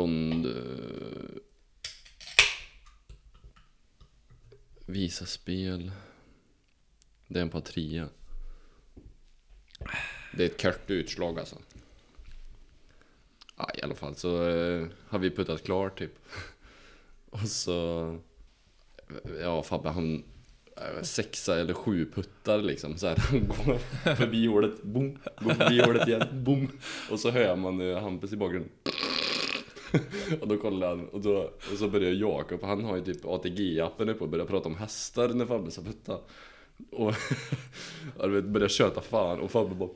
från... eh, visa spel. Det är en par trea. Det är ett kort utslag alltså. Ja, I alla fall så eh, har vi puttat klart typ. Och så... Ja, Fabbe han... eh, Sexa eller sju puttar liksom så här. Han går förbi hålet, boom, går förbi hålet igen, boom. Och så hör man eh, Hampus i bakgrunden. Och då kollar han och, då, och så börjar Jakob, han har ju typ ATG-appen uppe och börjar prata om hästar när Fabbe ska putta. Och ja, du vet, börjar köta fan och Fabbe bara...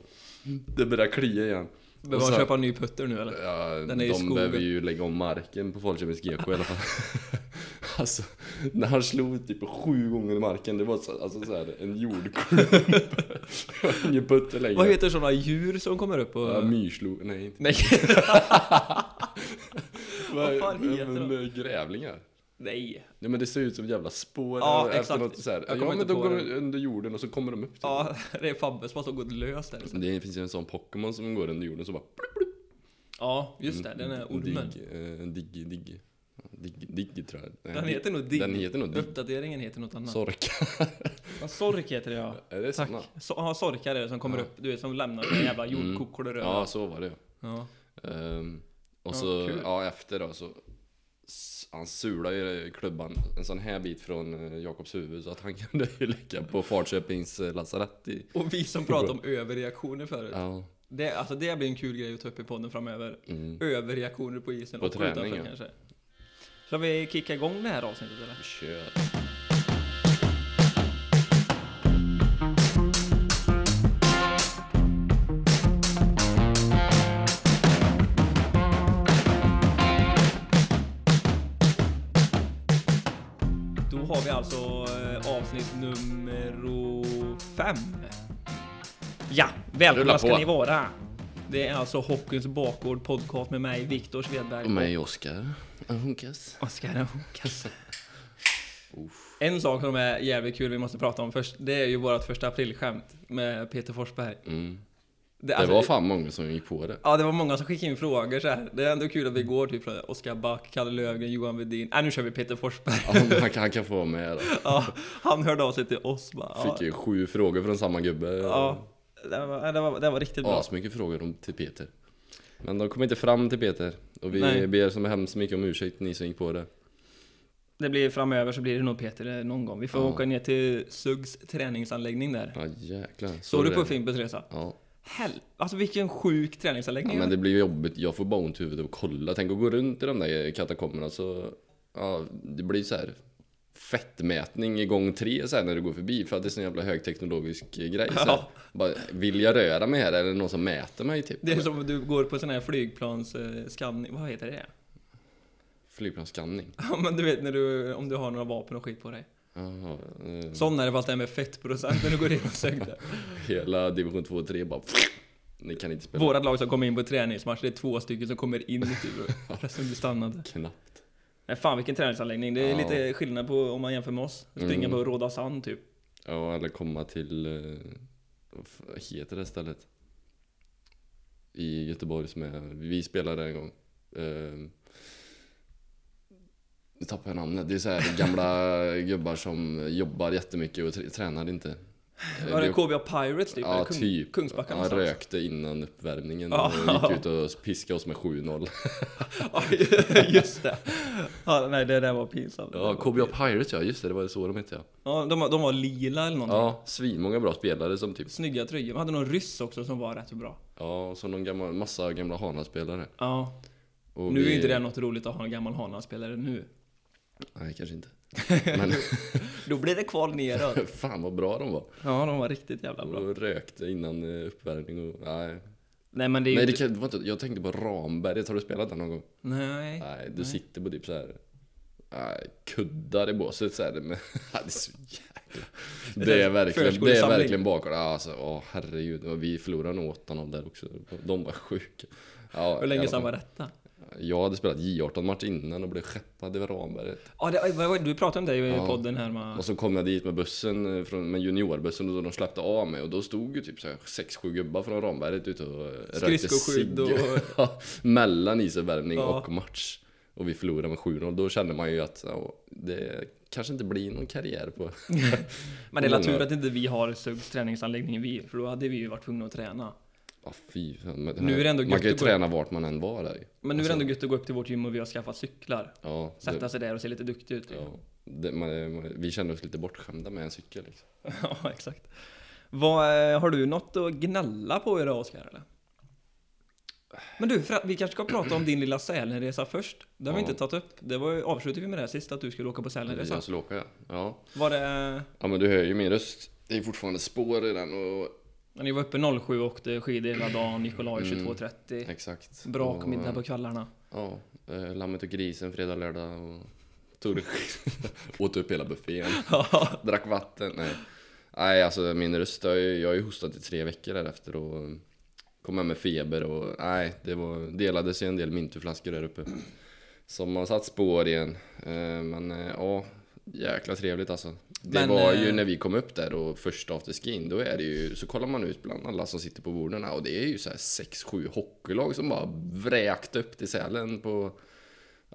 Det börjar klia igen. Behöver Och så man här- köpa en ny putter nu eller? Ja, Den är i de skogen. behöver ju lägga om marken på Falköpings GK i alla fall. alltså, när han slog typ sju gånger i marken, det var så, alltså så här, en jordklump. Det var Ingen putter längre. Vad heter sådana djur som kommer upp och... Ja, myrslog, nej inte. Vad Nej, fan heter men, de? eh, Grävlingar. nej. Nej men det ser ut som jävla spår Ja, efter exakt. något så här. Jag Ja kommer men inte de på går det. under jorden och så kommer de upp typ. Ja, det är Fabbe som har så gått lös där. Det finns ju en sån Pokémon som går under jorden som bara Ja, just det. Den är ormen. Digg, eh, digg, digg. Digg, digg tror jag. Nej, Den heter nog Digg. Den heter nog digg. Uppdateringen heter något annat. Sorka. Ja, Sork heter det ja. Är det Tack. såna? Mm. So ja, sorkar är det som kommer upp, du vet som lämnar sina jävla jordkokor och Ja röda. så var det ju. Ja. Ehm, och Ja, så, kul. ja efter då så s- han sulade ju klubban en sån här bit från eh, Jakobs huvud så att han kunde ju ligga på Falköpings eh, lasarett i... Och vi som pratade om överreaktioner förut. Ja, Det, alltså det blir en kul grej att ta upp i podden framöver. mm. Överreaktioner på isen På och träning, utanför ja. kanske. Ska vi kicka igång det här avsnittet eller? Kör. Då har vi alltså eh, avsnitt nummer fem. Ja, Rulla välkomna på. ska ni vara. Det är alltså Hockeyns bakgård podcast med mig, Viktor Svedberg. Och mig Oskar. Hunkas. Oskar Håkansson. En sak som är jävligt kul vi måste prata om först, det är ju vårt första aprilskämt med Peter Forsberg. Mm. Det, Det alltså, var fan många som gick på det. Ja, det var många som skickade in frågor så här. Det är ändå kul att vi går typ från Oskar Back, Kalle Löfgren, Johan Wedin. Nej, nu kör vi Peter Forsberg. Ja, men han, kan, han kan få vara med då. Ja, han hörde av sig till oss bara. Ja, Fick ju sju frågor från samma gubbe. ja det, var, det, var, det var riktigt bra. Asmycket frågor om, till Peter. Men de kom inte fram till Peter. Och vi Nej. ber så hemskt mycket om ursäkt ni som gick på det. Det blir framöver så blir det nog Peter eh, någon gång. Vi får Ja. åka ner till Suggs träningsanläggning där. Ja jäklar. Såg du på det. Fimpens Resa? Ja. Hel... Alltså vilken sjuk ja. träningsanläggning. Men det blir ju jobbigt. Jag får bara ont i huvudet av att kolla. Tänk att gå runt i de där katakomberna så... Ja, det blir så här fettmätning i gång tre sen när du går förbi för att det är sån jävla högteknologisk grej. Så här. Ja. Bara, vill jag röra mig här? Är det någon som mäter mig typ? Det är som om du går på sån här flygplansskanning, vad heter det? Flygplansskanning. Ja men du vet när du, om du har några vapen och skit på dig. Mm. Jaha, eh, Sån är det fast det är med fettprocent när du går in och söker. hela division 2 och 3 bara... Ni kan inte spela. Vårat lag som kommer in på träningsmatch, det är två stycken som kommer in typ. och Resten blir stannade. Knappt. Nej fan vilken träningsanläggning, det är Ja. lite skillnad på om man jämför med oss. Springa Mm. på Råda Sand typ. Ja, eller komma till... eh, Vad fan heter det stället? I Göteborg som är... Vi spelade en gång. Eh, Nu tappar jag namnet. Det är så här gamla gubbar som jobbar jättemycket och tr- tränar inte. Eh, Var det vi- KBA Pirates typ? Ja, Eller Kung- typ. Kungsbacka Han någonstans? rökte innan uppvärmningen Ja. och gick ut och piskade oss med 7-0. Ja, just det. Ja, nej det där var pinsamt. Ja, KBA Pirates ja, just det. Det var så de hette ja. Ja, de, de var lila eller någonting. Ja, svinmånga bra spelare som typ... Snygga tröjor. Man hade någon ryss också som var rätt bra. Ja, som någon gammal, massa gamla Hana-spelare. Ja. Och Nu är vi- ju inte det något roligt att ha en gammal Hana-spelare nu. Nej, kanske inte. Men Då blir det kval neråt. fan vad bra de var. Ja, de var riktigt jävla bra. Och rökte innan eh, uppvärmning och... Nej. Nej, men det är ju Nej, det, inte... kan, det var inte... Jag tänkte på Ramberget. Har du spelat där någon gång? Nej. Nej, du sitter på typ så här... Nej, kuddar i båset så här, men det är så jäkla... Det är verkligen, det är förskolesamling. verkligen bakåt. Ja, Alltså, åh herregud. Vi förlorade nog 8-0 där också. De var sjuka. Ja, Hur i länge alla sedan fall. var detta? jag hade spelat J18-match innan och blev skeppad över Ramberget. Ja, det, vad var det- du pratade om det i Ja. podden här med... Och så kom jag dit med bussen, eh, från, med juniorbussen och då de släppte av mig och då stod ju typ 6-7 gubbar från Ramberget ute och eh, rökte Skridskoskydd cigg och- Ja, mellan isuppvärmning Ja. och match. Och vi förlorade med 7-0, då kände man ju att ja, det kanske inte blir någon karriär på... Men det är många- tur att inte vi har Suggs träningsanläggning vi, för då hade vi ju varit tvungna att träna. Ja fy fan. Men Nu är det ändå man kan ju gött att gå- träna vart man än var där ju. Men nu är det Alltså- ändå gött att gå upp till vårt gym och vi har skaffat cyklar. Ja, det- Sätta sig där och se lite duktig ut. ja det, man, man, vi kände oss lite bortskämda med en cykel liksom. ja, exakt. Vad, eh, har du något att gnälla på idag Oskar eller? Men du, för att, vi kanske ska prata om din lilla Sälenresa först. Det har vi Ja. inte tagit upp. Det var ju, avslutade vi med det här sist, att du skulle åka på Sälenresa. Jag skulle åka ja. ja. Var det... Ja men du hör ju min röst. Det är fortfarande spår i den och När ni var uppe 07 och åkte skidor hela dagen, Nikolaj 22.30. Mm. Exakt. Och, Brakmiddag på kvällarna. Ja, eh, lammet och grisen fredag, lördag och tog det Åt upp hela buffén, Ja, drack vatten. Nej, nej alltså min röst, har ju- jag har ju hostat i tre veckor därefter och eh, kom hem med feber och nej, det var, delades ju en del mintuflaskor där uppe. Som har satt spår igen. Eh, Men eh, ja, jäkla trevligt alltså. Det Men, var eh, ju när vi kom upp där och första afterskin, då är det ju, så kollar man ut bland alla som sitter på borden och det är ju så här 6-7 hockeylag som bara vräkte upp till Sälen på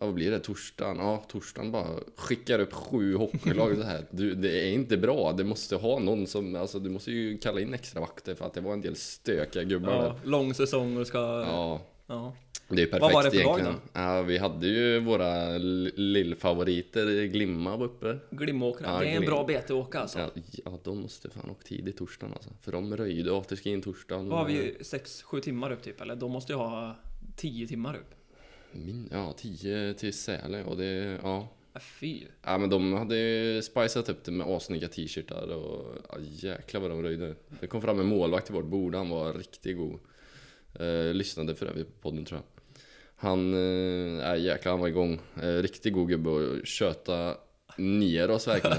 Ja, vad blir det? Torsdagen? Ja, torsdagen bara skickar upp sju hockeylag så här. Du, det är inte bra. Du måste ha någon som, alltså du måste ju kalla in extra vakter för att det var en del stökiga gubbar där. ja, lång säsong och ska... Ja. Ja, det är ju perfekt Vad var det för lag egentligen. Ja, vi hade ju våra l- lillfavoriter, Glimma var uppe. Glimåkra. Ja, det är en Glim. bra BT-åka alltså. Ja, ja, de måste fan åka tidigt torsdagen alltså. För de röjde afterskin torsdagen. Vad har vi? 6-7 timmar upp typ, eller? De måste ju ha 10 timmar upp. Min, ja, 10 till Säle och det, ja. Ja, Äh, Fy. Ja men de hade ju spicat upp det med assnygga t-shirtar och ja, jäklar vad de röjde. Det kom fram en målvakt till vårt bord, han var riktigt god. Eh, lyssnade för övrigt på podden tror jag. Han, eh, ja, jäklar han var igång. Eh, riktigt god gubbe och köta ner oss verkligen.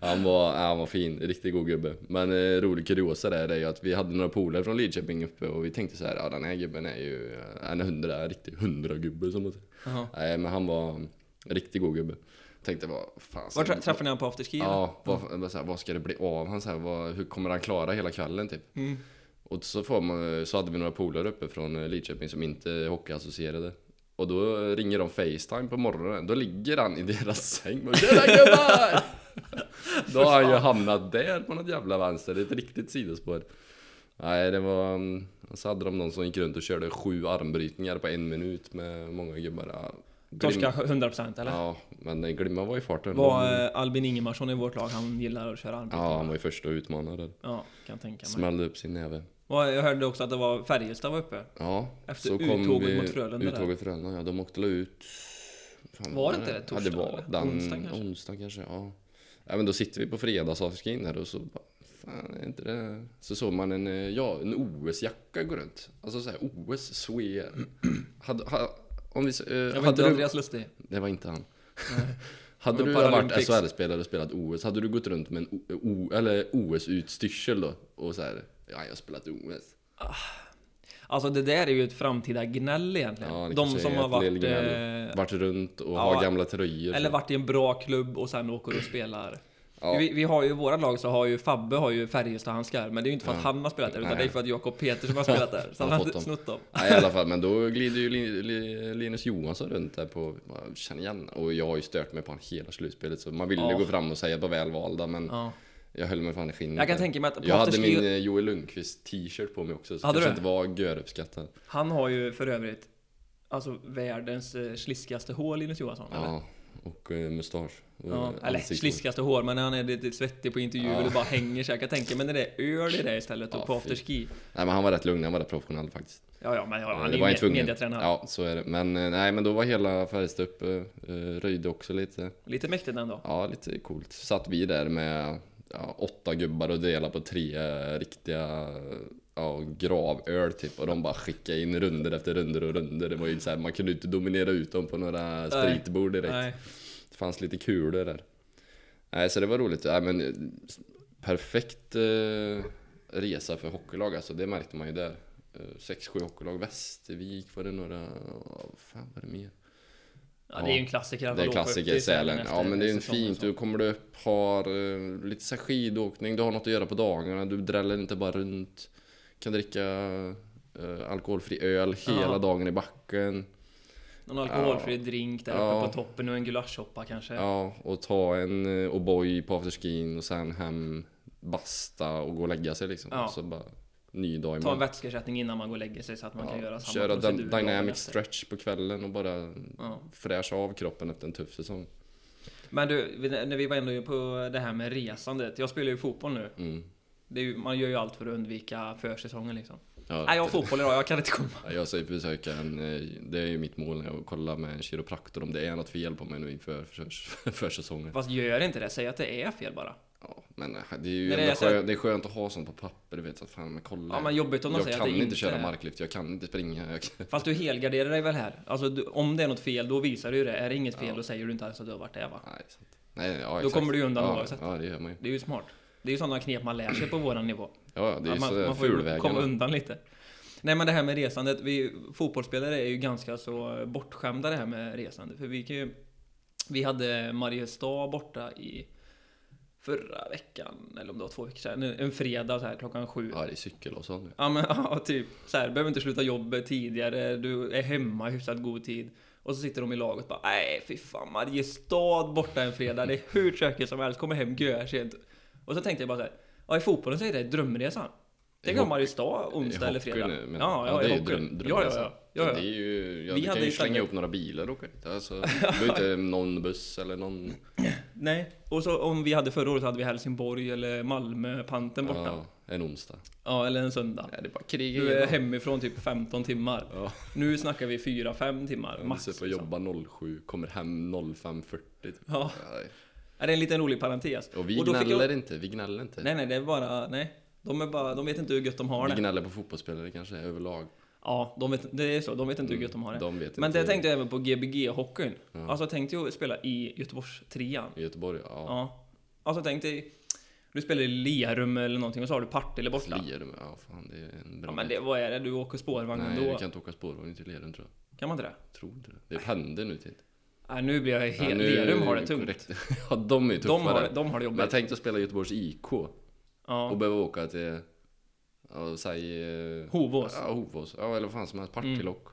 han, var, ja, han var fin, riktigt god gubbe. Men eh, rolig kuriosa där är ju att vi hade några polare från Lidköping uppe och vi tänkte så här, ja den här gubben är ju eh, en hundra, en riktig hundra gubbe som man säger. Jaha. Nej men han var en riktigt god gubbe. Tänkte vad fan Var tra- träffade ni honom på afterski? eller? Ja, vad, vad, så här, vad ska det bli av han så här, vad, Hur kommer han klara hela kvällen typ? Mm. Och så, får man, så hade vi några polare uppe från eh, Lidköping som inte är hockeyassocierade. Och då ringer de Facetime på morgonen. Då ligger han i deras säng. Och, "Tjena gubbar! då har han ju hamnat där på något jävla vänster. Det är ett riktigt sidospår. Nej, det var... mm, Så hade de någon som gick runt och körde sju armbrytningar på en minut med många gubbar. Ja, Torska 100% eller? Ja, men eh, Glimma var i farten. Var eh, Albin Ingemarsson i vårt lag, han gillar att köra armbåge? Ja, han var ju första utmanaren. Ja, kan tänka mig. Smällde upp sin näve. Och jag hörde också att det var Färjestad var uppe. Ja, Efter uttåget mot Frölunda där. Uttåget Frölunda, ja. De åkte la ut... Fan, Var det inte det? Ja, det Torsdag var eller? den... Onsdag Onsdag kanske? kanske? Onsdag kanske, ja. ja men då sitter vi på fredagsavskin här och så bara, Fan, är inte det... Så såg man en, eh, ja, en OS-jacka gå runt. Alltså såhär, OS, Swe... Hade, ha, om vi... s- eh, Jag vet hade inte du... Andreas Lustig. Det var inte han. Nej. Hade Men du varit Paralympics. SHL-spelare och spelat OS, hade du gått runt med en O- eh, o, eller OS-utstyrsel då? Och så här, ja jag har spelat OS. Alltså det där är ju ett framtida gnäll egentligen. Ja, det De kanske som är har ett varit... lillgnäll. Eh, Vart runt och ja, har gamla tröjor. eller varit i en bra klubb och sen åker och spelar. Ja. Vi, vi har ju, i våra lag så har ju Fabbe har ju Färjestad-handskar, men det är ju inte för att Ja. han har spelat där, utan Nej. det är för att Jakob Petersen har spelat där. Så Han har han har fått inte dem. snott dem. Nej i alla fall, men då glider ju Lin- Li- Linus Johansson runt där på, man känner igen. Och jag har ju stört mig på han hela slutspelet så man ville Ja. gå fram och säga på välvalda men Ja. jag höll mig fan i skinnet. Jag kan där. tänka mig att Mm. Jag hade afterski- min eh, Joel Lundqvist t-shirt på mig också så Hade kanske du? inte var göruppskattad. Han har ju för övrigt Alltså världens eh, sliskigaste hår Linus Johansson. eller? Ja, och eh, mustasch. Och Ja, eller ansikte. sliskigaste hår, men när han är lite svettig på intervjuer Ja. och bara hänger så jag kan tänka mig när det är öl i det istället och Ja, på fy. afterski. Nej men han var rätt lugn, han var rätt professionell faktiskt. Eh, Ja, ja, men ja, han är Det ju var med, inte tvungen. mediatränare. Ja, så är det. Men eh, nej, men då var hela Färjestad uppe, eh, röjde också lite. Lite mäktigt ändå. Ja, lite coolt. Satt vi där med ja, åtta gubbar och delade på tre eh, riktiga ja, gravöl typ. Och de bara skickade in runder efter runder och runder. Det var ju så här, man kunde ju inte dominera ut dem på några spritbord direkt. Nej. Det fanns lite kulor där. Nej, så det var roligt. Nej, men eh, perfekt eh, resa för hockeylag alltså, det märkte man ju där. Eh, sex, sju hockeylag. Västervik var det några, ja, fan var det mer? Ja, det är ju en klassiker. att Det är åka upp klassiker i till Sälen. efter liksom. Ja men det är en typ- säsongen fint. så. Du kommer du upp, har eh, lite så här skidåkning, du har något att göra på dagarna. Du dräller inte bara runt. Kan dricka eh, alkoholfri öl hela Ja. dagen i backen. Någon alkoholfri drink där Ja. uppe på toppen och en gulaschsoppa kanske. Ja, och ta en eh, O'boy på afterskin och sen hem, basta och gå och lägga sig liksom. Ja. Och så bara ny dag Ta imorgon. en vätskeersättning innan man går och lägger sig så att man kan göra samma Köra procedur dy- dagen dynamic efter. stretch på kvällen och bara Ja. fräscha av kroppen efter en tuff säsong. Men du, vi- när vi var ändå på det här med resandet. Jag spelar ju fotboll nu. Mm. Det är ju, man gör ju allt för att undvika försäsongen liksom. Ja, Nej, jag har fotboll idag. Jag kan inte komma. Ja, Jag ska ju besöka en, eh, det är ju mitt mål när jag kollar med en kiropraktor om det är något fel på mig nu inför för, försäsongen. Fast gör inte det. Säg att det är fel bara. Ja, men eh, det är ju Men det ändå är så här- skönt, det är skönt att ha sånt på papper, du vet att fan men kolla. Ja, men jobbigt om de jag säger att kan det inte inte köra är. marklyft, jag kan inte springa. Jag kan... Fast du helgarderar dig väl här? Alltså du, om det är något fel, då visar du ju det. Är det inget fel, då säger du inte ens att du har varit där va? Nej, sant. Nej, ja, Då exakt. kommer du ju undan ja, oavsett. Ja, det gör man ju. Det är ju smart. Det är ju sådana knep man lär sig på våran nivå. Ja, ja, det är ju Ja, man, så man får ju komma fulvägarna. undan lite. Nej men det här med resandet, vi fotbollsspelare är ju ganska så bortskämda det här med resande. För vi kan ju... Vi hade Mariestad borta i förra veckan, eller om det var två veckor sedan, en en fredag så här klockan sju. Ja. Ja, det är cykel och sånt nu. men ja, typ så här, behöver inte sluta jobbet tidigare, du är hemma i hyfsat god tid. Och så sitter de i laget och bara nej fy fan Mariestad borta en fredag, det är hur tråkigt som helst, kommer hem görsent. Och så tänkte jag bara så här, ja i fotbollen så är det drömresan. Tänk I om hockey- Mariestad I onsdag eller fredag. hockey nu, men- ja, ja, ja, det i är ju hockey. dröm, ja, ja, drömresan. ja, ja, Det är ja. ju, ja, Vi vi kan hade ju ju slänga slängat- upp några bilar och åka dit. Alltså, det är inte någon buss eller någon... Nej, och så om vi hade förra året så hade vi Helsingborg eller Malmö, panten borta. Ja, Ja, en onsdag. eller en söndag. Ja, det är bara krig Du är igen. hemifrån typ 15 timmar. Ja. Nu snackar vi 4-5 timmar Max. max. Sitter och liksom. jobbar 07, kommer hem 05.40. Typ. Ja, Nej. är det är en liten rolig parentes. Och vi då fick gnäller inte, vi gnäller inte. Jag... Nej, nej, det är bara, nej. De, är bara, de vet inte hur gött de har vi det. gnäller på fotbollsspelare kanske överlag. Ja, de vet, det är så. De vet inte hur gött de har det. Mm, De vet Men inte. det tänkte jag även på GBG-hockeyn. Alltså tänkte jag spela i Göteborgs-trean. I Göteborg, ja. Ja. Alltså tänk dig, du spelar i Lerum eller någonting och så har du Partille borta. Lerum, ja fan det är en bra Ja, men match. det, vad är det? Du åker spårvagn Nej, ändå? du kan Kan... inte åka spårvagn till Lerum tror jag. man inte det? Tror inte det. Det är pendeln nu till. Nej, nu blir jag Ja, helt... nu- Lerum har det tungt. korrekt. ja, de är ju tuffare. De har, de Men har det jag jobbigt. tänkte spela i Göteborgs IK och Ja. behöva åka till, ja, säg... eh, Hovås. Ja, Hovås. Ja, eller vad fan som helst. Partille och... Ja,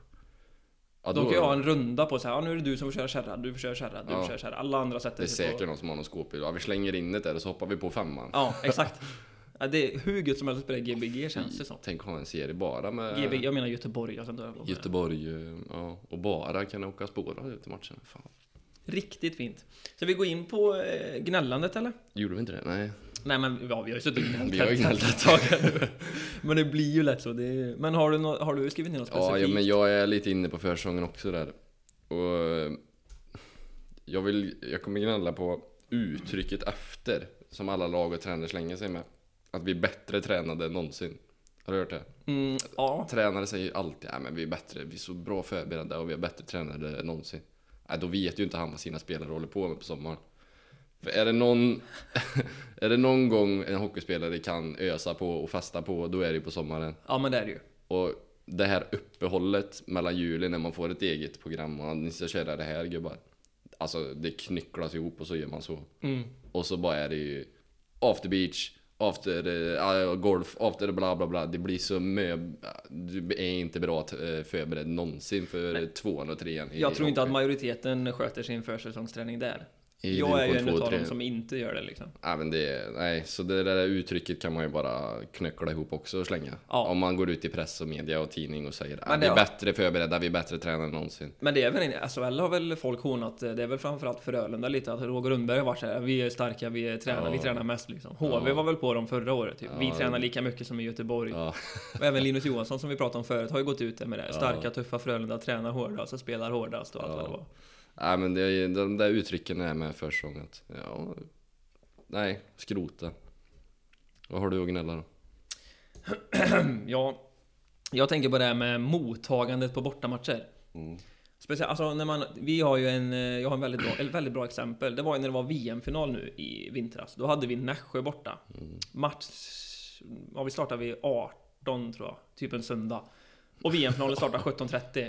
Mm. Då då- kan jag ha en runda på så här, ja, nu är det du som får köra kärra, du får köra kärra, du Ja. får köra kärra. Alla andra sätter Det är sig på... säkert någon som har någon skåpbil. Ja, vi slänger in det där och så hoppar vi på femman. Ja, exakt. Ja, det är hur gött som helst att spela GBG känns det som. Tänk ha en serie bara med GBG, jag menar Göteborg. Jag ska inte hålla på med det. Göteborg eh, ja, och bara kan åka spåra ut i matchen. Fan. Riktigt fint. Ska vi gå in på eh, gnällandet eller? Gjorde vi inte det? Nej. Nej men ja, vi har ju suttit och gnällt Vi har ju här gnällt ett tag här nu. Men det blir ju lätt så. Det är... Men har du, nå- har du skrivit ner något Ja, specifikt? ja, men jag är lite inne på försången också där. Och eh, jag, vill, jag kommer gnälla på uttrycket efter som alla lag och tränare slänger sig med. Att vi är bättre tränade än någonsin. Har du hört det? Mm, ja. Tränare säger alltid att vi är bättre, vi är så bra förberedda och vi är bättre tränade än någonsin. Nej, då vet ju inte han vad sina spelare håller på med på sommaren. För är det någon, är det någon gång en hockeyspelare kan ösa på och fasta på, då är det ju på sommaren. ja, men det är det ju. Och det här uppehållet mellan julen när man får ett eget program och ni ska köra det här gubbar. Alltså det knycklas ihop och så gör man så. Mm. Och så bara är det ju after beach, after eh, golf, after bla bla bla. Det blir så mö... Du är inte bra t- eh, förberedd någonsin för tvåan och trean. i Jag tror inte att hockey. majoriteten sköter sin försäsongsträning där. I jag är ju en division två och utav tre. dem som inte gör det liksom. Nej, men det, nej, så det där uttrycket kan man ju bara knöckla ihop också och slänga. Ja. Om man går ut i press och media och tidning och säger Men att det- vi är bättre förberedda, vi är bättre tränade än någonsin. Men det är väl, en- SHL har väl folk hånat, eh, det är väl framförallt Frölunda lite, att Roger Rundberg har varit såhär, vi är starka, vi är tränar, vi tränar mest liksom. HV var väl på dem förra året, typ. vi tränar lika mycket som i Göteborg. Ja. Och även Linus Johansson som vi pratade om förut har ju gått ut där med det. här. Starka, tuffa Frölunda, tränar hårdast och spelar hårdast och allt vad det var. Nej men det, är- de där uttrycken är med försånget. Ja. Nej, skrota. Vad har du att gnälla då? Ja, jag tänker på det här med mottagandet på bortamatcher. Speciellt, alltså när man, vi har ju en, eh, jag har en väldigt bra, ett väldigt bra exempel. Det var ju när det var VM-final nu i vintras. Då hade vi Nässjö borta. Match, ja vi startade vid 18 18 tror jag, typ en söndag. Och VM-finalen startar 17.30.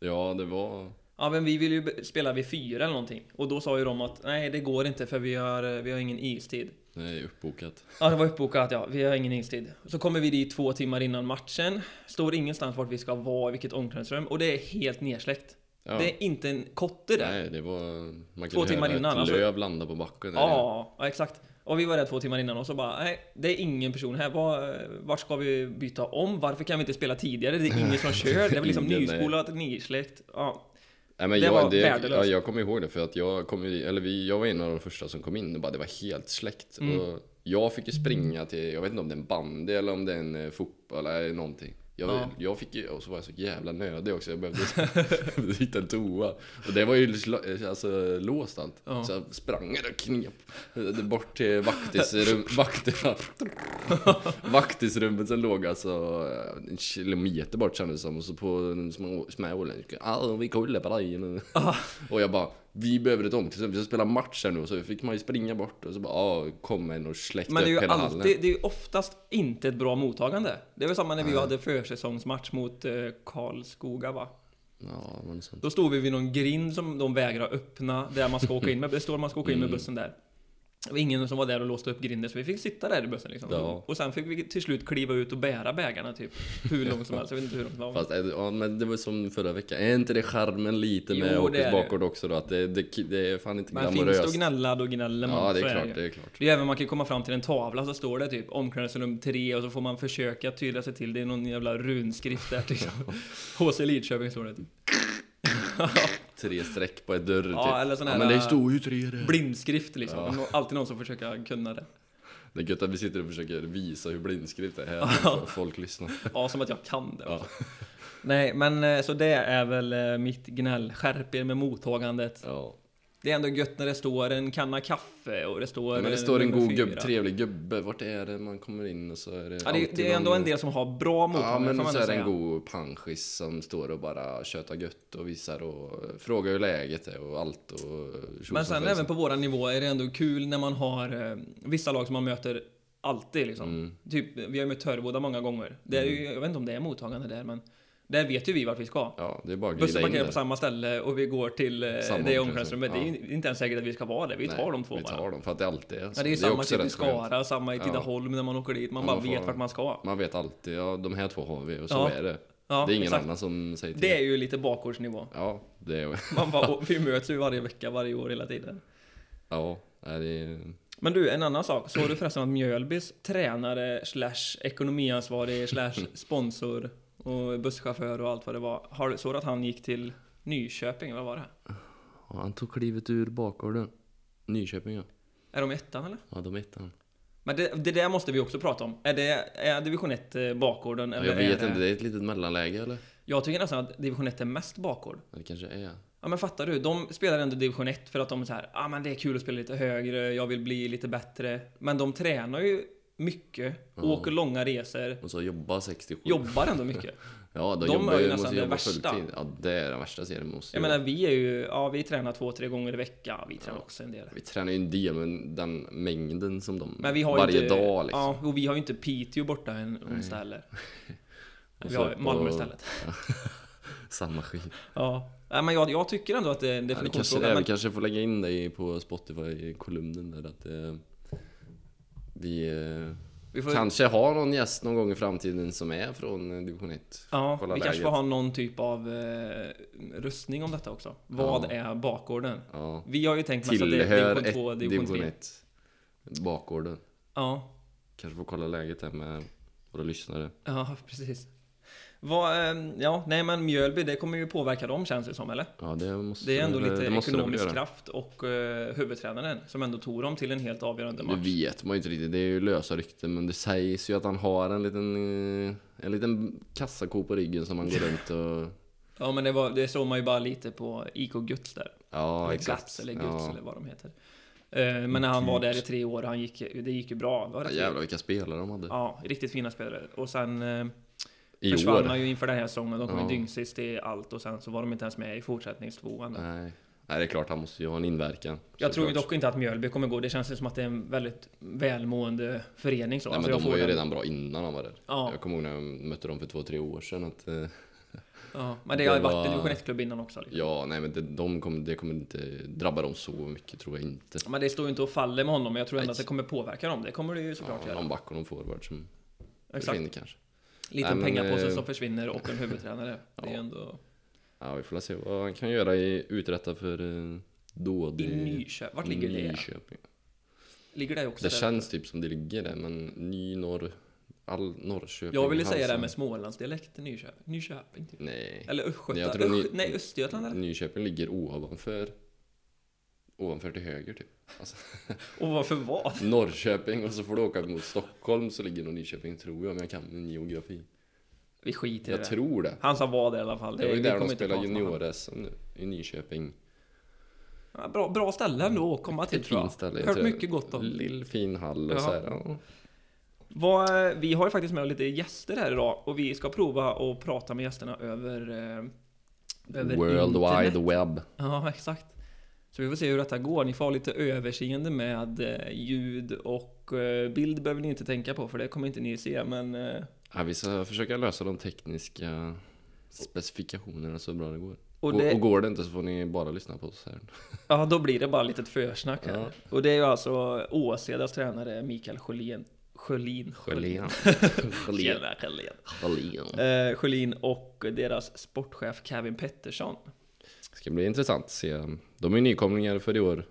Ja, det var... Ja men vi vill ju be- spela vid fyra eller någonting. Och då sa ju de att nej det går inte för vi har, eh, vi har ingen istid. Nej, uppbokat. Ja, det var uppbokat ja. Vi har ingen istid. Så kommer vi dit två timmar innan matchen. Står ingenstans vart vi ska vara, vilket omklädningsrum. Och det är helt nedsläckt. Ja. Det är inte en kotte där. Nej, det var... Man Två kunde timmar höra innan, ett alltså. löv landa på backen. där. ja, ja, exakt. Och vi var där två timmar innan och så bara, nej, det är ingen person här. Var, vart ska vi byta om? Varför kan vi inte spela tidigare? Det är ingen som kör. Det är väl liksom Ingen, nej. nyspolat, nedsläckt. Ja. Nej, men Det jag, var det, värdelöst. ja, jag kommer ihåg det för att jag, kom, ju- eller vi, jag var en av de första som kom in och bara det var helt släckt. Mm. Och jag fick ju springa till, jag vet inte om det är en bandy eller om det är en eh, fotboll eller någonting. Jag, Ja. jag fick ju, och så var jag så jävla nödig också, jag behövde, behövde hitta en toa. Och det var ju sl- alltså, låst allt. Ja. Så jag sprang och knep bort till vaktisrum, vakterna. Vaktisrummet som låg alltså eh, en kilometer bort kändes det som. Och så på en små, små åländska. "Ah, vi kollar på dig nu. Och jag bara, vi behöver ett omklädningsrum. Vi ska spela match här nu. Och Så fick man ju springa bort och så bara, ah, kom en och släckte Men det är upp ju hela hallen. alltid, det är ju oftast inte ett bra mottagande. Det var samma när vi hade försäsongsmatch mot eh, Karlskoga va? Ja, men sånt. Då stod vi vid någon grind som de vägrar öppna, där man ska åka in med, det står man ska åka in med Mm. bussen där. Det var ingen som var där och låste upp grinden, så vi fick sitta där i bussen liksom. Ja. Och sen fick vi till slut kliva ut och bära bägarna typ. Hur långt som helst, jag vet inte hur långt det var. Fast, eh, ja, men det var som förra veckan. Är inte det charmen lite Jo, med det är Åkes det. bakgård också då? Att det, det, det är fan inte Men finns det att glamoröst. gnälla, då gnäller man. Ja, det Så är klart, ju. det är klart. Det är även man kan komma fram till en tavla så står det typ omklädningsrum 3 och så får man försöka tyda sig till. Det är någon jävla runskrift där liksom. HC Lidköping står det. typ. Tre streck på ett dörr Ja, typ. eller sån ja, här- eh, men det står ju tre där. Blindskrift liksom. Nå- Alltid någon som försöker kunna det. Det är gött att vi sitter och försöker visa hur blindskrift är här. och Folk lyssnar. Ja, som att jag kan det. Ja. också. Nej, men eh, så det är väl eh, mitt gnäll. Skärp er med mottagandet. Ja. Det är ändå gött när det står en kanna kaffe och det står... Ja, men det eh, står en nummer god fyra. gubb, trevlig gubbe. Vart är det man kommer in och så är det Ja, det, alltid det är ändå någon- en del som har bra Ja mottagande, får men man så ändå är det säga. en god panschis som står och bara tjötar gött och visar och eh, frågar hur läget är och allt och tjosan Men sen svejsan. även på våran nivå är det ändå kul när man har eh, vissa lag som man möter alltid liksom. Mm. Typ, vi har ju mött Töreboda många gånger. Det är ju, jag vet inte om det är mottagande där, men där vet ju vi vart vi ska. Ja det är bara att glida Bussen in parkerar på där. samma ställe och vi går till eh, Samma det omklädningsrum, omklädningsrummet. Det är ju inte ens säkert att vi ska vara där. Vi tar Nej, de två Vi bara. tar dem för att Alltså, det alltid är så. Ja, det är ju samma också typ i rätt skönt. Skara, samma i Ja. Tidaholm när man åker dit. Man Ja, bara man får- vet vart man ska. Man vet alltid, ja de här två har vi och så Ja. är det. Ja, det är ingen exakt. annan typ som säger till. Det är ju lite bakgårdsnivå. Ja, det är... Man bara, och vi möts ju varje vecka, varje år, hela tiden. Ja, nej, det är... Men du, en annan sak. Såg du förresten att Mjölbys tränare slash ekonomiansvarig slash sponsor och busschaufför och allt vad det var. Har du, såg du att han gick till Nyköping? Vad var det? Ja, han tog klivet ur bakgården. Nyköping ja. Är de i ettan eller? Ja, de hette han. Men det, det där måste vi också prata om. Är det är division 1 eh, bakgården? Ja, Eller jag vet är det, inte, det är ett litet mellanläge eller? Jag tycker nästan att division 1 är mest bakgård. Ja, Det kanske är. Ja men fattar du? De spelar ändå division 1 för att de är så här, ah men det är kul att spela lite högre, jag vill bli lite bättre. Men de tränar ju mycket, Mm. åker långa resor, Och så jobba 67. jobbar ändå mycket. Ja, de, De jobbar är ju ju, nästan måste det jobba värsta. fulltid. Ja, det är den värsta serien. Måste Jag jobba. menar vi är ju, ja vi tränar två, tre gånger i veckan, vi tränar också en del. Vi tränar ju en del, men den mängden som de... Men vi har ju varje inte, dag liksom. Ja, och vi har ju inte Piteå borta en onsdag heller. Och Vi så har på- Malmö istället. Samma skit. Ja. Nej, men jag, jag tycker ändå att det är Ja, en det kanske, definitionsfråga. är, men- vi kanske får lägga in dig på Spotify-kolumnen där att eh, vi... Eh, Vi får- Kanske har någon gäst någon gång i framtiden som är från eh, division 1. Ja, Kolla vi kanske läget. får ha någon typ av eh, röstning om detta också. Vad är bakgården? Ja. Vi har ju tänkt mest att Alltså, det är Tillhör division 2, ett, division 3. division 1. Bakgården. Ja, Kanske får kolla läget där med våra lyssnare. ja precis. Vad, ehm, ja, nej men Mjölby, det kommer ju påverka dem känns det som, eller? Ja, det måste Det är ändå väl- lite det måste de väl ekonomisk göra. kraft och eh, huvudtränaren som ändå tog dem till en helt avgörande Det match. vet man ju inte riktigt, det är ju lösa rykten men det sägs ju att han har en liten, eh, en liten kassako på ryggen som han går runt och... Ja, men det, var, det såg man ju bara lite på IK Guts där. Ja, eller exakt. Guts eller Guts ja. eller vad de heter. Eh, men när han var där i tre år, han gick, det gick ju bra. Var Ja, det tre år? jävlar vilka spelare de hade. Ja, riktigt fina spelare. Och sen eh, I försvann år. han ju inför den här säsongen. De kom ju Ja. dyngsist i allt och sen så var de inte ens med i fortsättningstvåan. där. Nej. Nej, det är klart han måste ju ha en inverkan. Jag tror såklart. ju dock inte att Mjölby kommer gå. Det känns ju som att det är en väldigt välmående förening. Så. Nej, men Alltså, jag de får var ju den- redan bra innan han var där. Ja. Jag kommer ihåg när jag mötte dem för två, tre år sedan att eh, Ja, men det, Det har ju varit var- en division 1-klubb innan också. Liksom. ja, nej men det, de kom, det kommer inte drabba dem så mycket tror jag inte. Men det står ju inte och faller med honom, men jag tror ändå Nej. att det kommer påverka dem. Det kommer det ju såklart ja, göra. någon back och någon forward som Exakt. försvinner kanske. Liten Nej, men, pengapåse eh, som försvinner och en huvudtränare. Det är Ja. ändå... Ja, vi får väl se vad han kan göra i uträtta för eh, dåd I Nyköping. Vart ligger det? Nyköping. Ligger det också Det där? känns typ som det ligger där, men ny norr... All Norrköping. Jag ville säga det här Halsen. med Smålandsdialekt. Nyköping. Nyköping typ. Nej. Eller Jag Östgötland. tror ni- Öst... Nej, Östergötland eller? Nyköping ligger ovanför... Ovanför till höger typ. Alltså, Och varför vad? Norrköping och så får du åka mot Stockholm så ligger nog Nyköping tror jag, men jag kan min geografi. Vi skiter i Jag det. tror det. Han som var där i alla fall. Det var ju vi där kommer de inte spelade prata om honom. junior-SM nu, i Nyköping. Ja, bra, bra ställe ändå att komma till Ett tror jag. fint ställe. jag Hört tror jag. mycket gott om. Lill fin hall och Ja. så här. Ja. Vad, vi har ju faktiskt med lite gäster här idag och vi ska prova att prata med gästerna över... Eh, över World internet. wide web. Ja, exakt. Så vi får se hur detta går. Ni får ha lite överseende med eh, ljud och eh, bild behöver ni inte tänka på för det kommer inte ni se men... eh, Ja, vi ska försöka lösa de tekniska specifikationerna så bra det går. Och Och, det- och går det inte så får ni bara lyssna på oss här. Ja, då blir det bara lite försnack här. Ja. Och det är ju alltså Åsedas tränare Mikael Sjölin. Sjölin. Sjölén. Sjölén. Tjena, Sjölin. Sjölén. Eh, Sjölin och deras sportchef Kevin Pettersson. Det ska bli intressant att se. De är ju nykomlingar för i år.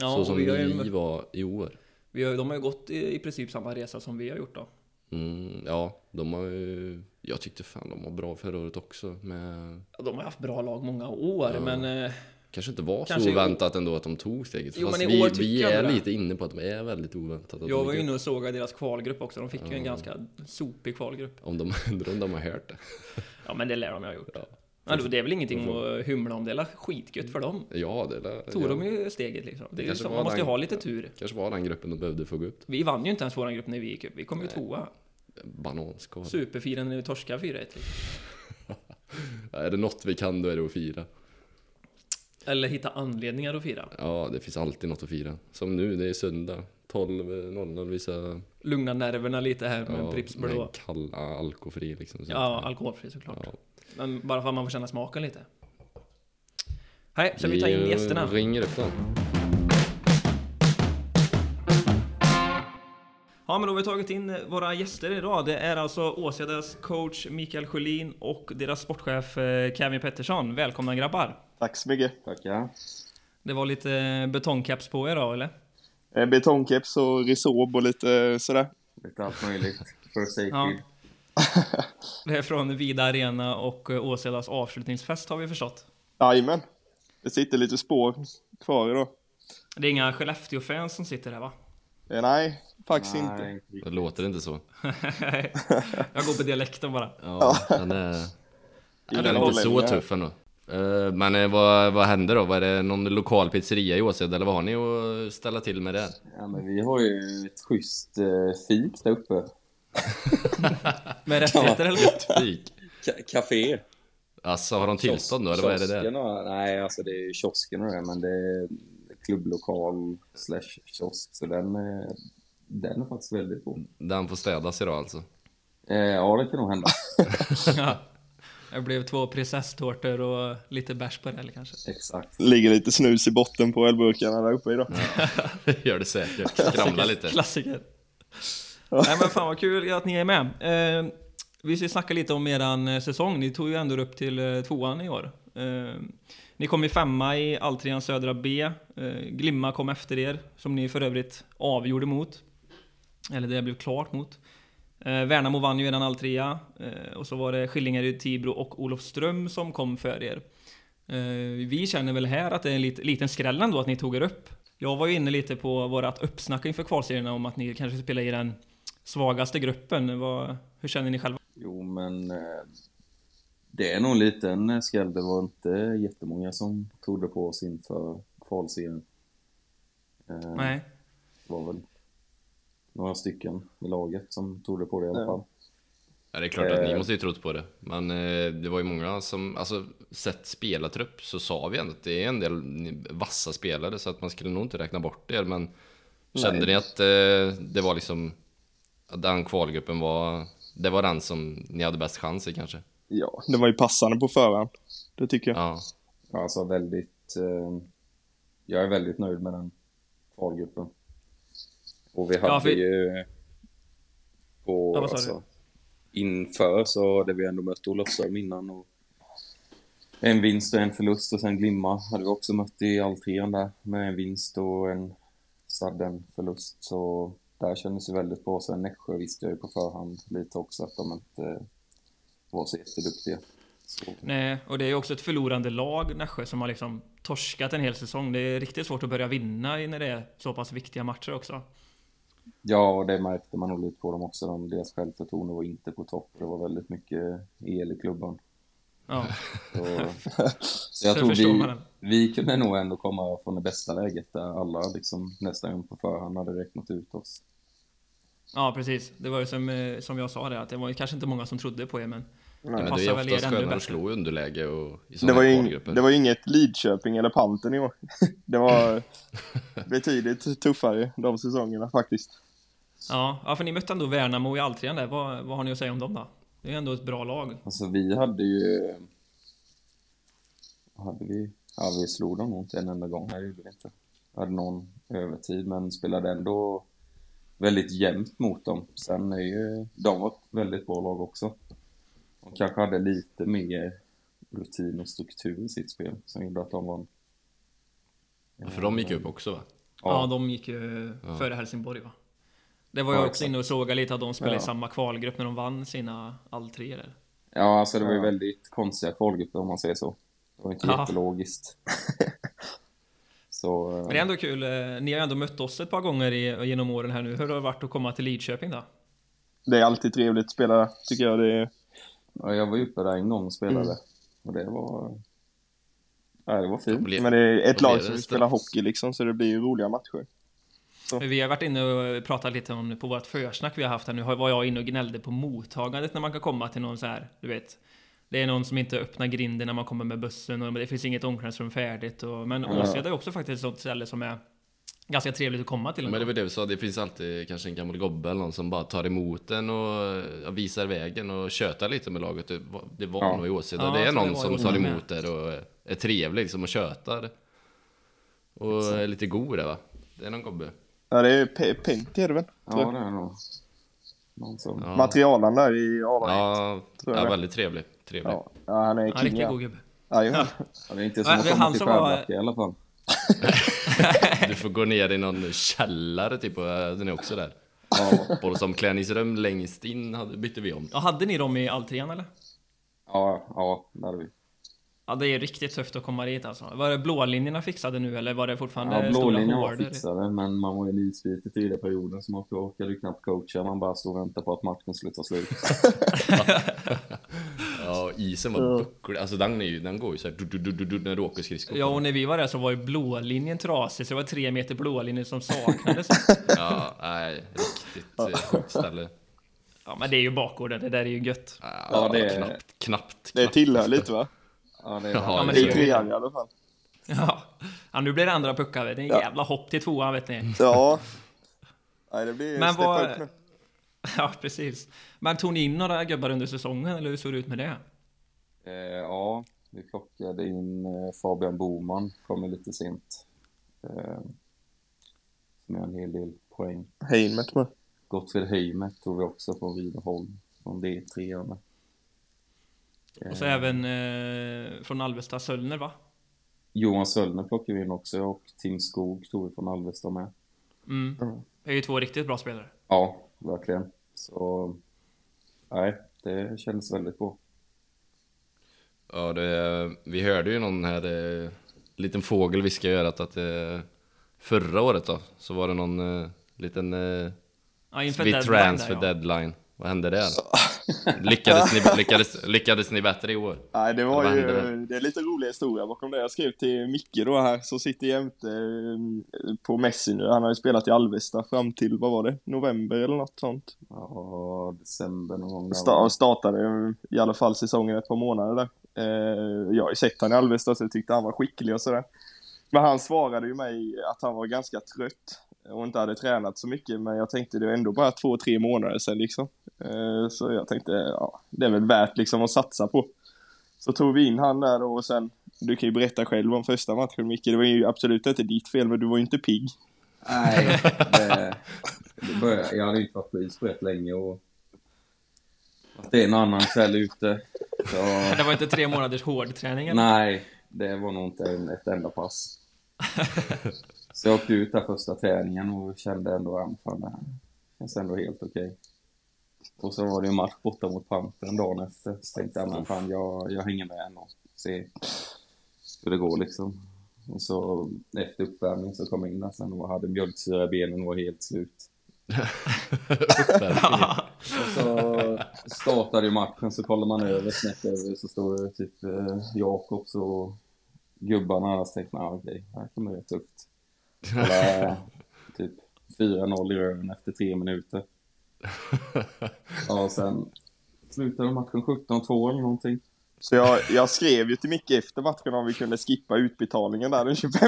Ja, så och som vi har ju- vi var i år. Vi har, de har ju gått i, i princip samma resa som vi har gjort då. Mm, ja, de har ju... Jag tyckte fan de var bra förra året också. Men Ja, De har haft bra lag många år, men... Eh, kanske inte var Kanske i så oväntat ändå att de tog steget. Jo, Fast men i vi, år vi tycker jag är det. lite inne på att de är väldigt oväntat. Att jag de gick var ju upp. inne och sågade deras kvalgrupp också. De fick ju en ganska sopig kvalgrupp. om de, undrar om de har hört det. Ja, men det lär de ju ha gjort. Ja. Ja, det är väl ingenting att hymla om. Det är väl skitgött för dem. Ja, det lär, Tog ja. de ju steget liksom. Det är ju Kanske så, var man måste ju den- ha lite tur. kanske var den gruppen de behövde få gå upp. Vi vann ju inte ens våran grupp när vi gick upp. Vi kom ju tvåa. Bananskal. Superfirande när vi torskade 4-1. Liksom. Är det något vi kan då är det att fira. Eller hitta anledningar att fira. Ja, det finns alltid något att fira. Som nu, det är söndag. 12.00 vissa... Lugna nerverna lite här med Ja, Pripps med Blå. kall, alkofri liksom. Så Ja, att- alkoholfri såklart. ja. Men bara för att man får känna smaken lite. Hej, ska vi ta in gästerna? ringer upp dem. Ja, men då har vi tagit in våra gäster idag. Det är alltså Åsedas coach Mikael Sjölin och deras sportchef eh, Kevin Pettersson. Välkomna grabbar! Tack så mycket. Tackar. Det var lite eh, betongcaps på er då, eller? Betongkeps Eh, och risob och lite eh, sådär. Lite allt möjligt. First aid Ja. kid. Det är från Vida Arena och eh, Åsedas avslutningsfest har vi förstått. Jajamän. Det sitter lite spår kvar idag. Det är inga Skellefteå-fans som sitter här va? Eh, Nej, faktiskt inte. Nej, Det låter inte så. Jag går på dialekten bara. Ja, eh, den är, den Ingen är inte så norrlänning här. tuff ändå. Eh, Men eh, vad, vad händer då? Var det någon lokal pizzeria i Åsed eller vad har ni att ställa till med där? ja, men vi har ju ett schysst eh, fik där uppe. Med rättigheter eller? Fik? Ka- café. Alltså har de tillstånd då eller vad är det där? Kiosken och- Nej, alltså det är ju kiosken och det, men det är klubblokal slash kiosk. Så den, eh, den är faktiskt väldigt god. Den får städas idag alltså. Eh, ja, det kan nog hända. Ja. Det blev två prinsesstårtor och lite bärs på det eller kanske. Exakt. Ligger lite snus i botten på ölburkarna där uppe idag. Gör det säkert. Skramla lite. Klassiker. Nej men fan vad kul att ni är med. Eh, vi ska snacka lite om eran eh, säsong. Ni tog ju ändå upp till eh, tvåan i år. Eh, ni kom ju femma i Alltrean Södra B. Eh, Glimma kom efter er, som ni för övrigt avgjorde mot. Eller det blev klart mot. Eh, Värnamo vann ju eran alltrea. Eh, och så var det Skillingaryd, Tibro och Olofström som kom för er. Eh, Vi känner väl här att det är en lit- liten skräll ändå att ni tog er upp. Jag var ju inne lite på vårat uppsnack inför kvalserierna om att ni kanske spelar i den svagaste gruppen. Vad, hur känner ni själva? Jo, men eh, det är nog en liten eh, skräll. Det var inte jättemånga som tog det på oss inför kvalserien. Eh, Nej. Det var väl några stycken i laget som tog det på det i alla fall. Ja, det är klart att ni Eh. måste ju trott på det. Men eh, det var ju många som, alltså sett spelartrupp så sa vi ändå att det är en del vassa spelare så att man skulle nog inte räkna bort det. Men kände ni att eh, det var liksom, att den kvalgruppen var, det var den som ni hade bäst chans i kanske? Ja, det var ju passande på förhand. Det tycker jag. Ja. Alltså väldigt... Eh, jag är väldigt nöjd med den kvalgruppen. Och vi hade Ja, för- ju... På, Ja, vad sa du? alltså, inför så hade vi ändå mött Olofström innan. Och en vinst och en förlust och sen Glimma hade vi också mött i alltrean där med en vinst och en sudden förlust. Så där kändes det väldigt bra. Sen Nässjö visste jag ju på förhand lite också att de inte var så jätteduktiga. Så, Nej, och det är ju också ett förlorande lag, Nässjö, som har liksom torskat en hel säsong. Det är riktigt svårt att börja vinna i- när det är så pass viktiga matcher också. Ja, och det märkte man nog lite på dem också. De, deras självförtroende var inte på topp. Det var väldigt mycket el i klubban. Ja, Så, så Så jag tror förstår man den. vi, vi kunde nog ändå komma från det bästa läget där alla liksom nästan gång på förhand hade räknat ut oss. ja precis. Det var ju som, eh, som jag sa där, att det var ju kanske inte många som trodde på er, men Ja, det men det passar är väl oftast er ännu skönare att bättre. slå i underläge och i det, sådana var här ju kvalgrupper. ing, det var ju inget Lidköping eller Panten i år. Det var betydligt tuffare de säsongerna faktiskt. Ja, ja för ni mötte ändå Värnamo i Alltrean där. Vad, vad har ni att säga om dem då? Det är ju ändå ett bra lag. Alltså vi hade ju... vad Hade vi? Ja, vi slog dem nog inte en enda gång. Nej, det gjorde vi inte. Hade någon övertid, men spelade ändå väldigt jämnt mot dem. Sen är ju... De var ett väldigt bra lag också. De kanske hade lite mer rutin och struktur i sitt spel som gjorde att de vann. För de gick upp också va? Ja, Ja. de gick ju före Helsingborg va? Det var Ja, jag också exakt. inne och sågade lite att de spelade Ja. i samma kvalgrupp när de vann sina alltreor. där. Ja, alltså det var ju Ja. väldigt konstiga kvalgrupper om man säger så. Det var inte Ja. jättelogiskt. så... Men det är ändå kul. eh, Ni har ju ändå mött oss ett par gånger i, genom åren här nu. Hur har det varit att komma till Lidköping då? Det är alltid trevligt att spela där, tycker jag. Det är, Ja, jag var ju uppe där en gång och spelade. Och det var... Ja, det var fint. Ble- men det är ett Då blir lag det som en vill straff. spela hockey liksom, så det blir ju roliga matcher. Vi har varit inne och pratat lite om på vårt försnack vi har haft här nu. har- Var jag inne och gnällde på mottagandet när man kan komma till någon så här, du vet. Det är någon som inte öppnar grinden när man kommer med bussen och det finns inget omklädningsrum färdigt. Och, men Ja. Åseda är också faktiskt ett sånt ställe som är ganska trevligt att komma till. Men det ändå. var det vi sa, det finns alltid kanske en gammal gobbe eller någon som bara tar emot en och ja, visar vägen och tjötar lite med laget. Det var, det var Ja. nog i Åseda. Ja, det jag är tror det någon var i som Åseda tar med. emot er och är trevlig liksom och tjötar. Och är lite god där va? Det är någon gobbe. Ja, det är Pe- Pentti är det väl? Ja, tror jag. det är nog. Någon som... Ja. Materialen där i a Ja, tror jag ja det. väldigt trevlig. trevlig. ja. ja, han är Ja, king. riktigt Ja, god gubbe. ja. Ja, det är inte Ja, som att det är han komma till som var- Skärblacka i alla fall. Du får gå ner i någon källare typ och äh, den är också där. Ja, Fotbollsomklädningsrum längst in hade, bytte vi om. Ja, hade ni dem i alltrean eller? ja, ja där är vi. Ja, det är riktigt tufft att komma dit alltså. Var det blålinjerna fixade nu eller var det fortfarande Ja, stora blålinjen var hårder? fixade, men man var ju nitsliten i hela perioden så man orkade ju knappt coacha. Man bara stod och väntade på att matchen skulle ta slut. Ja, och isen var bucklig. Alltså den, är ju, den går ju så här du, du, du, du, du, när du åker skridskor. Ja, och när vi var där så var ju blålinjen trasig, så det var tre meter blålinje som saknades. Ja, nej, riktigt eh, sjukt ställe. ja, men det är ju bakgården, det där är ju gött. Alltså. Ja, det är- knappt, knappt. Det knappt. tillhör lite va? Ja, det är Ja, men men Det det är är ju- trean i alla fall. Ja, ja nu blir det andra puckar. vet ni. Det är en jävla hopp till tvåan vet ni. Ja. Nej, det blir Men steppa vad- upp nu. Ja, precis. Men tog ni in några gubbar under säsongen eller hur såg det ut med det? Eh, ja, vi plockade in eh, Fabian Boman, kommer lite sent. Eh, som gör en hel del poäng. Heimert med. Gottfrid Höjmet tog vi också från Rydaholm, från D3. -arna. Och så även eh, från Alvesta, Söllner va? Johan Söllner plockade vi in också och Tim Skog tog vi från Alvesta med. Mm. Mm. Det är ju två riktigt bra spelare. Ja, verkligen. Så, nej, det kändes väldigt bra. Ja, det, vi hörde ju någon här eh, liten fågel viska i örat att eh, förra året då så var det någon eh, liten eh, Ja, vid transfer deadline. Vad hände där? Lyckades ni, lyckades, lyckades ni bättre i år? Nej, det var Vad ju, hände det är lite rolig historia bakom det. Jag skrev till Micke då här, som sitter jämte eh, på Messi nu. Han har ju spelat i Alvesta fram till, vad var det, november eller något sånt. Ja, december någon gång. där, Sta- va? startade eh, i alla fall säsongen ett par månader där. Eh, jag har ju sett han i Alvesta så jag tyckte han var skicklig och sådär. Men han svarade ju mig att han var ganska trött och inte hade tränat så mycket, men jag tänkte det var ändå bara två, tre månader sedan liksom. Eh, Så jag tänkte, ja, det är väl värt liksom att satsa på. Så tog vi in han där då och sen, du kan ju berätta själv om första matchen Micke, det var ju absolut inte ditt fel, men du var ju inte pigg. Nej, det, det började, jag hade inte varit på is rätt länge och att det är en annan kväll ute. Så, Det var inte tre månaders hårdträning eller? nej, det var nog inte en, ett enda pass. Så jag åkte ut där första träningen och kände ändå att fan, det här känns ändå helt okej. Och så var det en match borta mot Pantern dagen efter. Så tänkte jag, men fan jag, jag hänger med ändå. Se hur det går liksom. Och så efter uppvärmning så kom jag in där sen och hade mjölksyra i benen och var helt slut. Och så startade ju matchen, så kollar man över, snett över, så står det typ eh, Jakobs och gubbarna. Annars tänkte man, "Ah, okej, här kommer det tufft. Kolla, eh, typ 4-0 i röven efter tre minuter. Ja, och sen slutade matchen 17-2 eller någonting. Så jag, jag skrev ju till Micke efter matchen om vi kunde skippa utbetalningen där den 25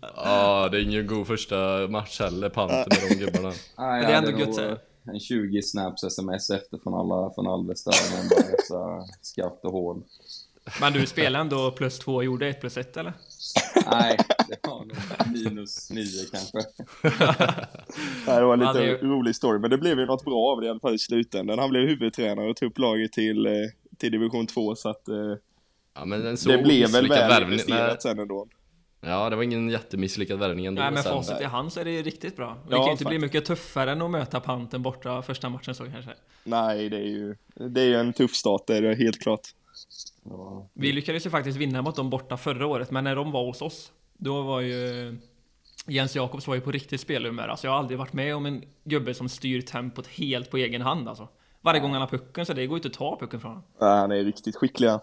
Ja, det är ingen god första match heller, Panter med de gubbarna. Nej, Men det är ändå gött, säger jag. En 20 snaps sms efter från alla från Alvesta. men bara så Skratt och hån. Men du spelade ändå plus två och gjorde ett plus ett eller? Nej, det var nog minus 9 kanske. Nej, det var lite Ja, det är ju- rolig story, men det blev ju något bra av det i alla fall i slutändan. Han blev huvudtränare och tog upp laget till, eh, till division 2, så att eh, Ja, men en så det blev väl misslyckad väl värvning. Nej, investerat sen ändå. ja, det var ingen jättemisslyckad värvning ändå. Nej men sen. facit i hand så är det ju riktigt bra. Det Ja, kan ju inte bli faktiskt. mycket tuffare än att möta Panten borta första matchen så kanske. Nej, det är ju det är ju en tuff start, det är det helt klart. Ja. Vi lyckades ju faktiskt vinna mot dem borta förra året, men när de var hos oss, då var ju Jens Jakobs var ju på riktigt spelhumör. Alltså jag har aldrig varit med om en gubbe som styr tempot helt på egen hand alltså. Varje gång han har pucken, så det går ju inte att ta pucken från honom. Ja, han är riktigt skicklig han.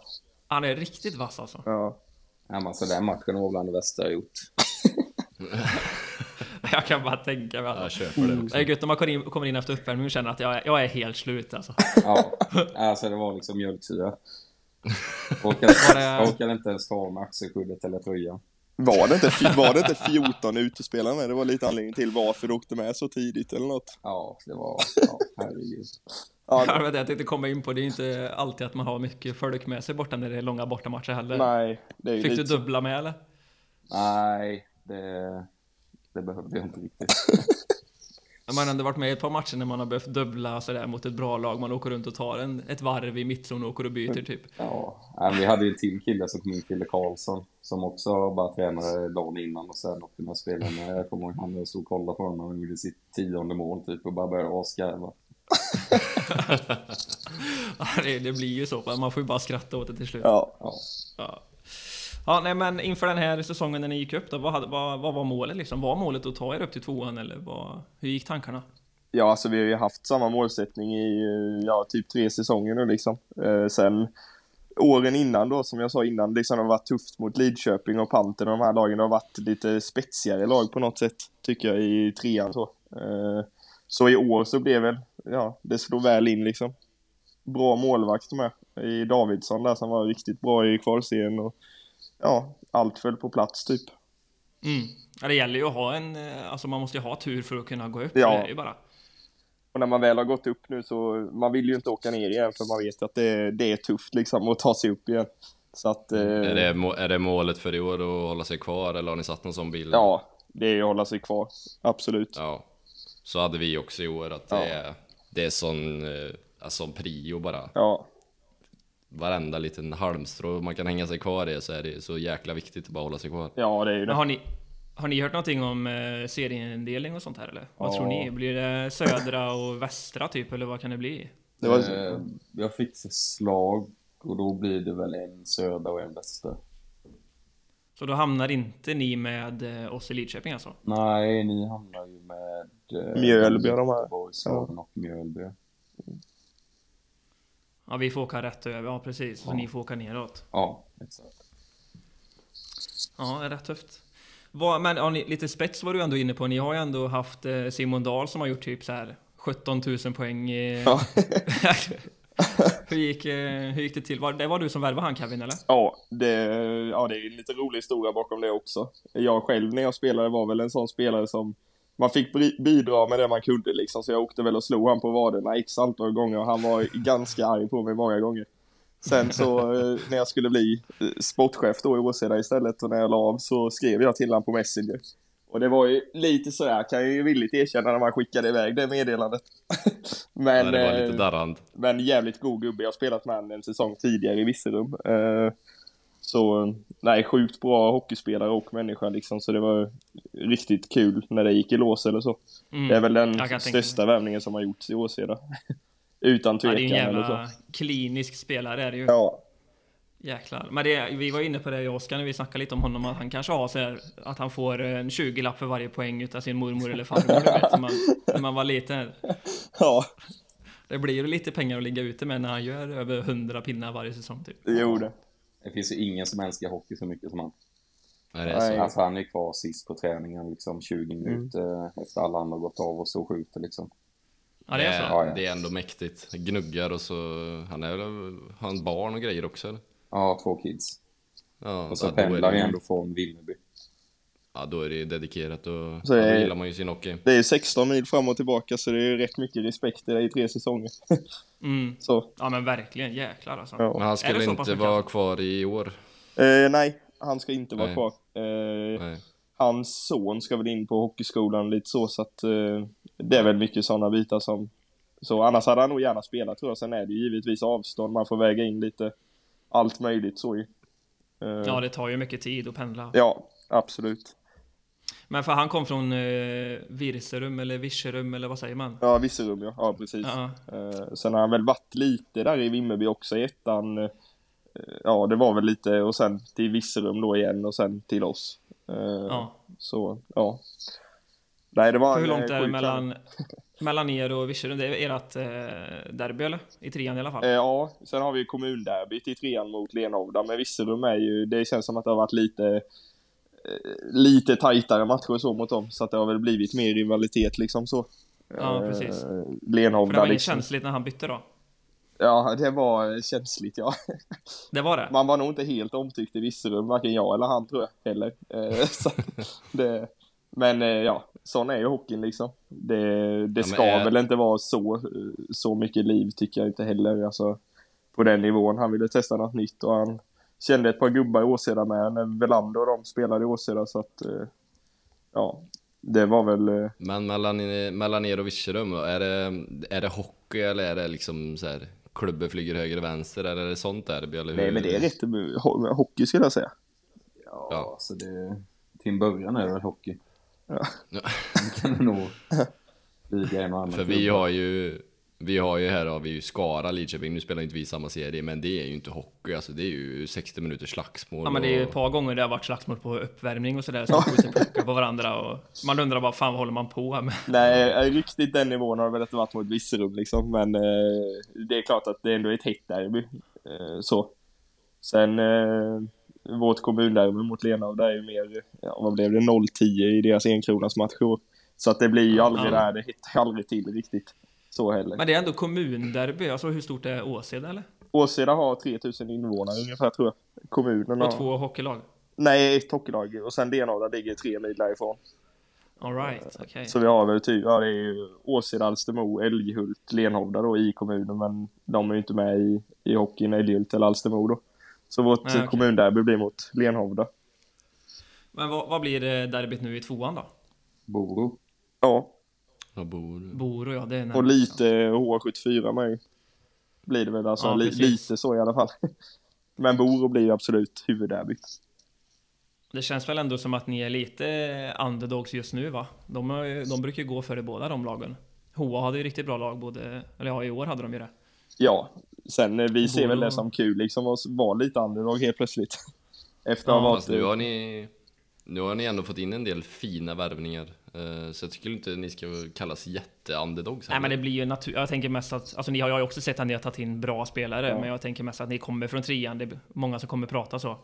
Han är riktigt vass alltså. ja. Ja, men alltså den matchen var bland det värsta jag gjort. Jag kan bara tänka mig Ja, Jag alltså. köper det också. Det är gött om man kommer in, kommer in efter uppvärmning och känner att jag är, jag är helt slut alltså. Ja, alltså det var liksom mjölksyra. Orkade, det- orkade inte ens ta av mig axelskyddet eller tröjan. Var det, inte, fj- var det inte 14 utespelare med? Det var lite anledning till varför du åkte med så tidigt eller något. Ja, det var... Ja, herregud. Ja, Ja, det var det jag tänkte komma in på. Det är ju inte alltid att man har mycket folk med sig borta när det är långa bortamatcher heller. nej, det är ju Fick lite... du dubbla med eller? Nej, det, det behövde jag inte riktigt. När man har ändå varit med i ett par matcher när man har behövt dubbla sådär mot ett bra lag. Man åker runt och tar en, ett varv i mittzon och åker och byter typ. Ja, nej, vi hade ju en till kille som kom in, Kille Karlsson, som också bara tränade dagen innan och sen åkte med spelarna. Jag kommer ihåg han jag stod och kollade på honom och gjorde sitt tionde mål typ och bara började asgarva. Ja, det, det blir ju så. Man får ju bara skratta åt det till slut. Ja. Ja. Ja. Ja, nej, men inför den här säsongen när ni gick upp då, vad, hade, vad, vad var målet liksom? Var målet att ta er upp till tvåan eller vad, hur gick tankarna? Ja, alltså vi har ju haft samma målsättning i eh, ja, typ tre säsonger nu liksom. Eh, sen åren innan då, som jag sa innan, liksom det har varit tufft mot Lidköping och Pantern och de här lagen. Det har varit lite spetsigare lag på något sätt, tycker jag, i trean så. Eh, så i år så blev väl, ja, det slog väl in liksom. Bra målvakt med i Davidsson där som var riktigt bra i kvalserien och ja, allt föll på plats typ. Mm. Ja, det gäller ju att ha en, eh, alltså man måste ju ha tur för att kunna gå upp. Ja. Det är ju bara. Och när man väl har gått upp nu så, man vill ju inte åka ner igen för man vet att det, det är tufft liksom att ta sig upp igen. Så att, eh, Är Mm, det, må- är det målet för i år att hålla sig kvar eller har ni satt någon sån bild? ja, det är att hålla sig kvar. Absolut. Ja. Så hade vi också i år att det, Ja. är, det är sån, eh, alltså prio bara. Ja, Varenda liten halmstrå man kan hänga sig kvar i så är det så jäkla viktigt att bara hålla sig kvar. ja det är ju Men det. har ni, har ni hört någonting om eh, serieindelning och sånt här eller? Vad Ja. tror ni? Blir det södra och västra typ eller vad kan det bli? det var, Eh, Jag fick förslag och då blir det väl en södra och en väster. Så då hamnar inte ni med eh, oss i Lidköping alltså? Nej, ni hamnar ju med... Eh, Mjölby och de här. Göteborg, Sören och Mjölby. Ja, vi får åka rätt över. Ja, precis. Så ni får åka neråt. Ja, exakt. Ja, det är rätt tufft. Vad- men ja, ni, lite spets var du ändå inne på. Ni har ju ändå haft eh, Simon Dahl som har gjort typ så här 17 000 poäng. Eh, Ja. hur, gick, eh, hur gick det till? Var, det var du som värvade han Kevin, eller? Ja, det, ja, det är en lite rolig historia bakom det också. Jag själv när jag spelade var väl en sån spelare som man fick bri- bidra med det man kunde liksom, så jag åkte väl och slog han på vaderna x antal gånger och han var ganska arg på mig många gånger. Sen så eh, när jag skulle bli eh, sportchef då i Åseda istället och när jag la av så skrev jag till honom på Messenger. Och det var ju lite sådär kan jag ju villigt erkänna när man skickade iväg det meddelandet. Men, Nej, det var eh, lite darrande. men jävligt god gubbe. Jag har spelat med honom en säsong tidigare i Virserum. Eh, Så nej, sjukt bra hockeyspelare och människa liksom. Så det var riktigt kul när det gick i lås eller så. Mm. Det är väl jag kan den tänka största värvningen som har gjorts i Åseda. Utan Ja, det är ju tvekan en eller så. jävla klinisk spelare är det ju. Ja, Jäklar. Men det, vi var inne på det, jag och Oskar, när vi snackade lite om honom, att han kanske har så här, att han får en 20-lapp för varje poäng utav sin mormor eller farmor. du vet, som man, när man var liten. ja, Det blir ju lite pengar att ligga ute med när han gör över 100 pinnar varje säsong typ. det gjorde. Det finns ju ingen som älskar hockey så mycket som han. Nej, det är så. Nej. Alltså han är kvar sist på träningen liksom 20 minuter efter alla andra har gått av och så skjuter liksom. Ja, det Eh, är så. Ja, ja. det är ändå mäktigt. Gnuggar och så... Han är väl... Har han barn och grejer också eller? Ja, två kids. Ja, Och så att då är pendlar det- jag ändå från Vimmerby. Ja, då är det ju dedikerat och ja, Så är- då gillar man ju sin hockey. Det är 16 mil fram och tillbaka så det är ju rätt mycket respekt i det i tre säsonger. Mm. Så, Ja men verkligen, jäklar alltså. ja. Men han Är ska det väl så pass inte mycket? vara kvar i år? Eh, nej, han ska inte vara Nej. kvar. Eh, Nej. hans son ska väl in på hockeyskolan lite så, så att eh, det är väl mycket sådana bitar som... Så annars hade han nog gärna spelat tror jag. Sen är det ju givetvis avstånd, man får väga in lite allt möjligt så ju. Eh, Ja, det tar ju mycket tid att pendla. ja, absolut. Men för han kom från eh, Virserum eller Virserum eller vad säger man? Ja, Virserum ja. Ja, precis. Ja. Eh, sen har han väl varit lite där i Vimmerby också i ettan. Eh, ja, det var väl lite och sen till Virserum då igen och sen till oss. Eh, ja. Så, ja. Nej, det var För hur en, långt eh, är det sjuk kant. mellan, mellan er och Virserum? Det är ert eh, derby eller? I trean i alla fall? Eh, ja, sen har vi ju kommunderbyt i trean mot Lenhovda, men Virserum är ju, det känns som att det har varit lite, eh, lite tajtare matcher så mot dem, så att det har väl blivit mer rivalitet liksom så. Ja, precis. Eh, För det var Lenhovda inget liksom. känsligt när han bytte då? Ja, det var känsligt ja. Det var det? Man var nog inte helt omtyckt i Virserum, varken jag eller han tror jag heller. Eh, så det, men eh, ja, sån är ju hockeyn liksom. Ja, Det, det men ska är- väl inte vara så, eh, så mycket liv tycker jag inte heller. Alltså, på den nivån. Han ville testa något nytt och han kände ett par gubbar i Åseda med när Velander och de spelade i Åseda så att eh, ja, det var väl eh, Men mellan, mellan er och Virserum, då, är det, är det hockey eller är det liksom så här klubbor flyger höger och vänster eller är det sånt derby? Eller hur? Nej men det är rätt ho- hockey skulle jag säga. Ja, Ja. så det... Till en början är det väl hockey. Ja. Ja. Sen kan det nog flyga en och annan För vi klubba. har ju, vi har ju här har vi ju Skara, Lidköping, nu spelar inte vi samma serie men det är ju inte hockey alltså, det är ju 60 minuters slagsmål Ja men det är ju ett och, par gånger det har varit slagsmål på uppvärmning och sådär, så man skjuter puckar på varandra och man undrar bara fan vad håller man på med? Nej, eh, riktigt den nivån har det väl inte varit mot Virserum liksom men eh, det är klart att det ändå är ett hett derby. Eh, så. Sen eh, vårt kommunderby mot Lena där är ju mer, ja, vad blev det, 0-10 i deras enkronasmatch i år. Så att det blir ju aldrig Ja. där, det hittar ju aldrig till riktigt. Så heller. Men det är ändå kommunderby, alltså hur stort är Åseda eller? Åseda har 3000 invånare ungefär tror jag. Kommunen Och har... två hockeylag? Nej Nej, ett hockeylag och sen Lenhovda ligger tre mil därifrån. Alright, okej. Så vi har väl typ, ja det är ju Åseda, Alstermo, Älghult, Lenhovda då i kommunen men de är ju inte med i, i hockeyn, Älghult eller Alstermo då. Så vårt Nej, okej. kommunderby blir mot Lenhovda. Men vad, vad blir eh, derbyt nu i tvåan då? Boro. Ja, och bor. Boro ja, det är och närmast, lite H74 med ju. Blir det väl alltså, Ja, li, precis. lite så i alla fall. men Boro blir ju absolut huvudderbyt. ja. Det känns väl ändå som att ni är lite eh, underdogs just nu va? De, har ju- de brukar ju gå före båda de lagen. Hoa hade ju riktigt bra lag både, eller ja i år hade de ju det. Ja, sen eh, vi ser väl Boro- det som kul liksom att vara lite underdog helt plötsligt. Efter att ha varit... Fast nu har ni Nu har ni ändå fått in en del fina värvningar eh, Så jag tycker inte ni ska kallas jätteunderdogs Nej heller. men det blir ju natur... Jag tänker mest att... Alltså ni har jag har ju också sett att ni har tagit in bra spelare. Men jag tänker mest att ni kommer från trean. Det är många som kommer prata så.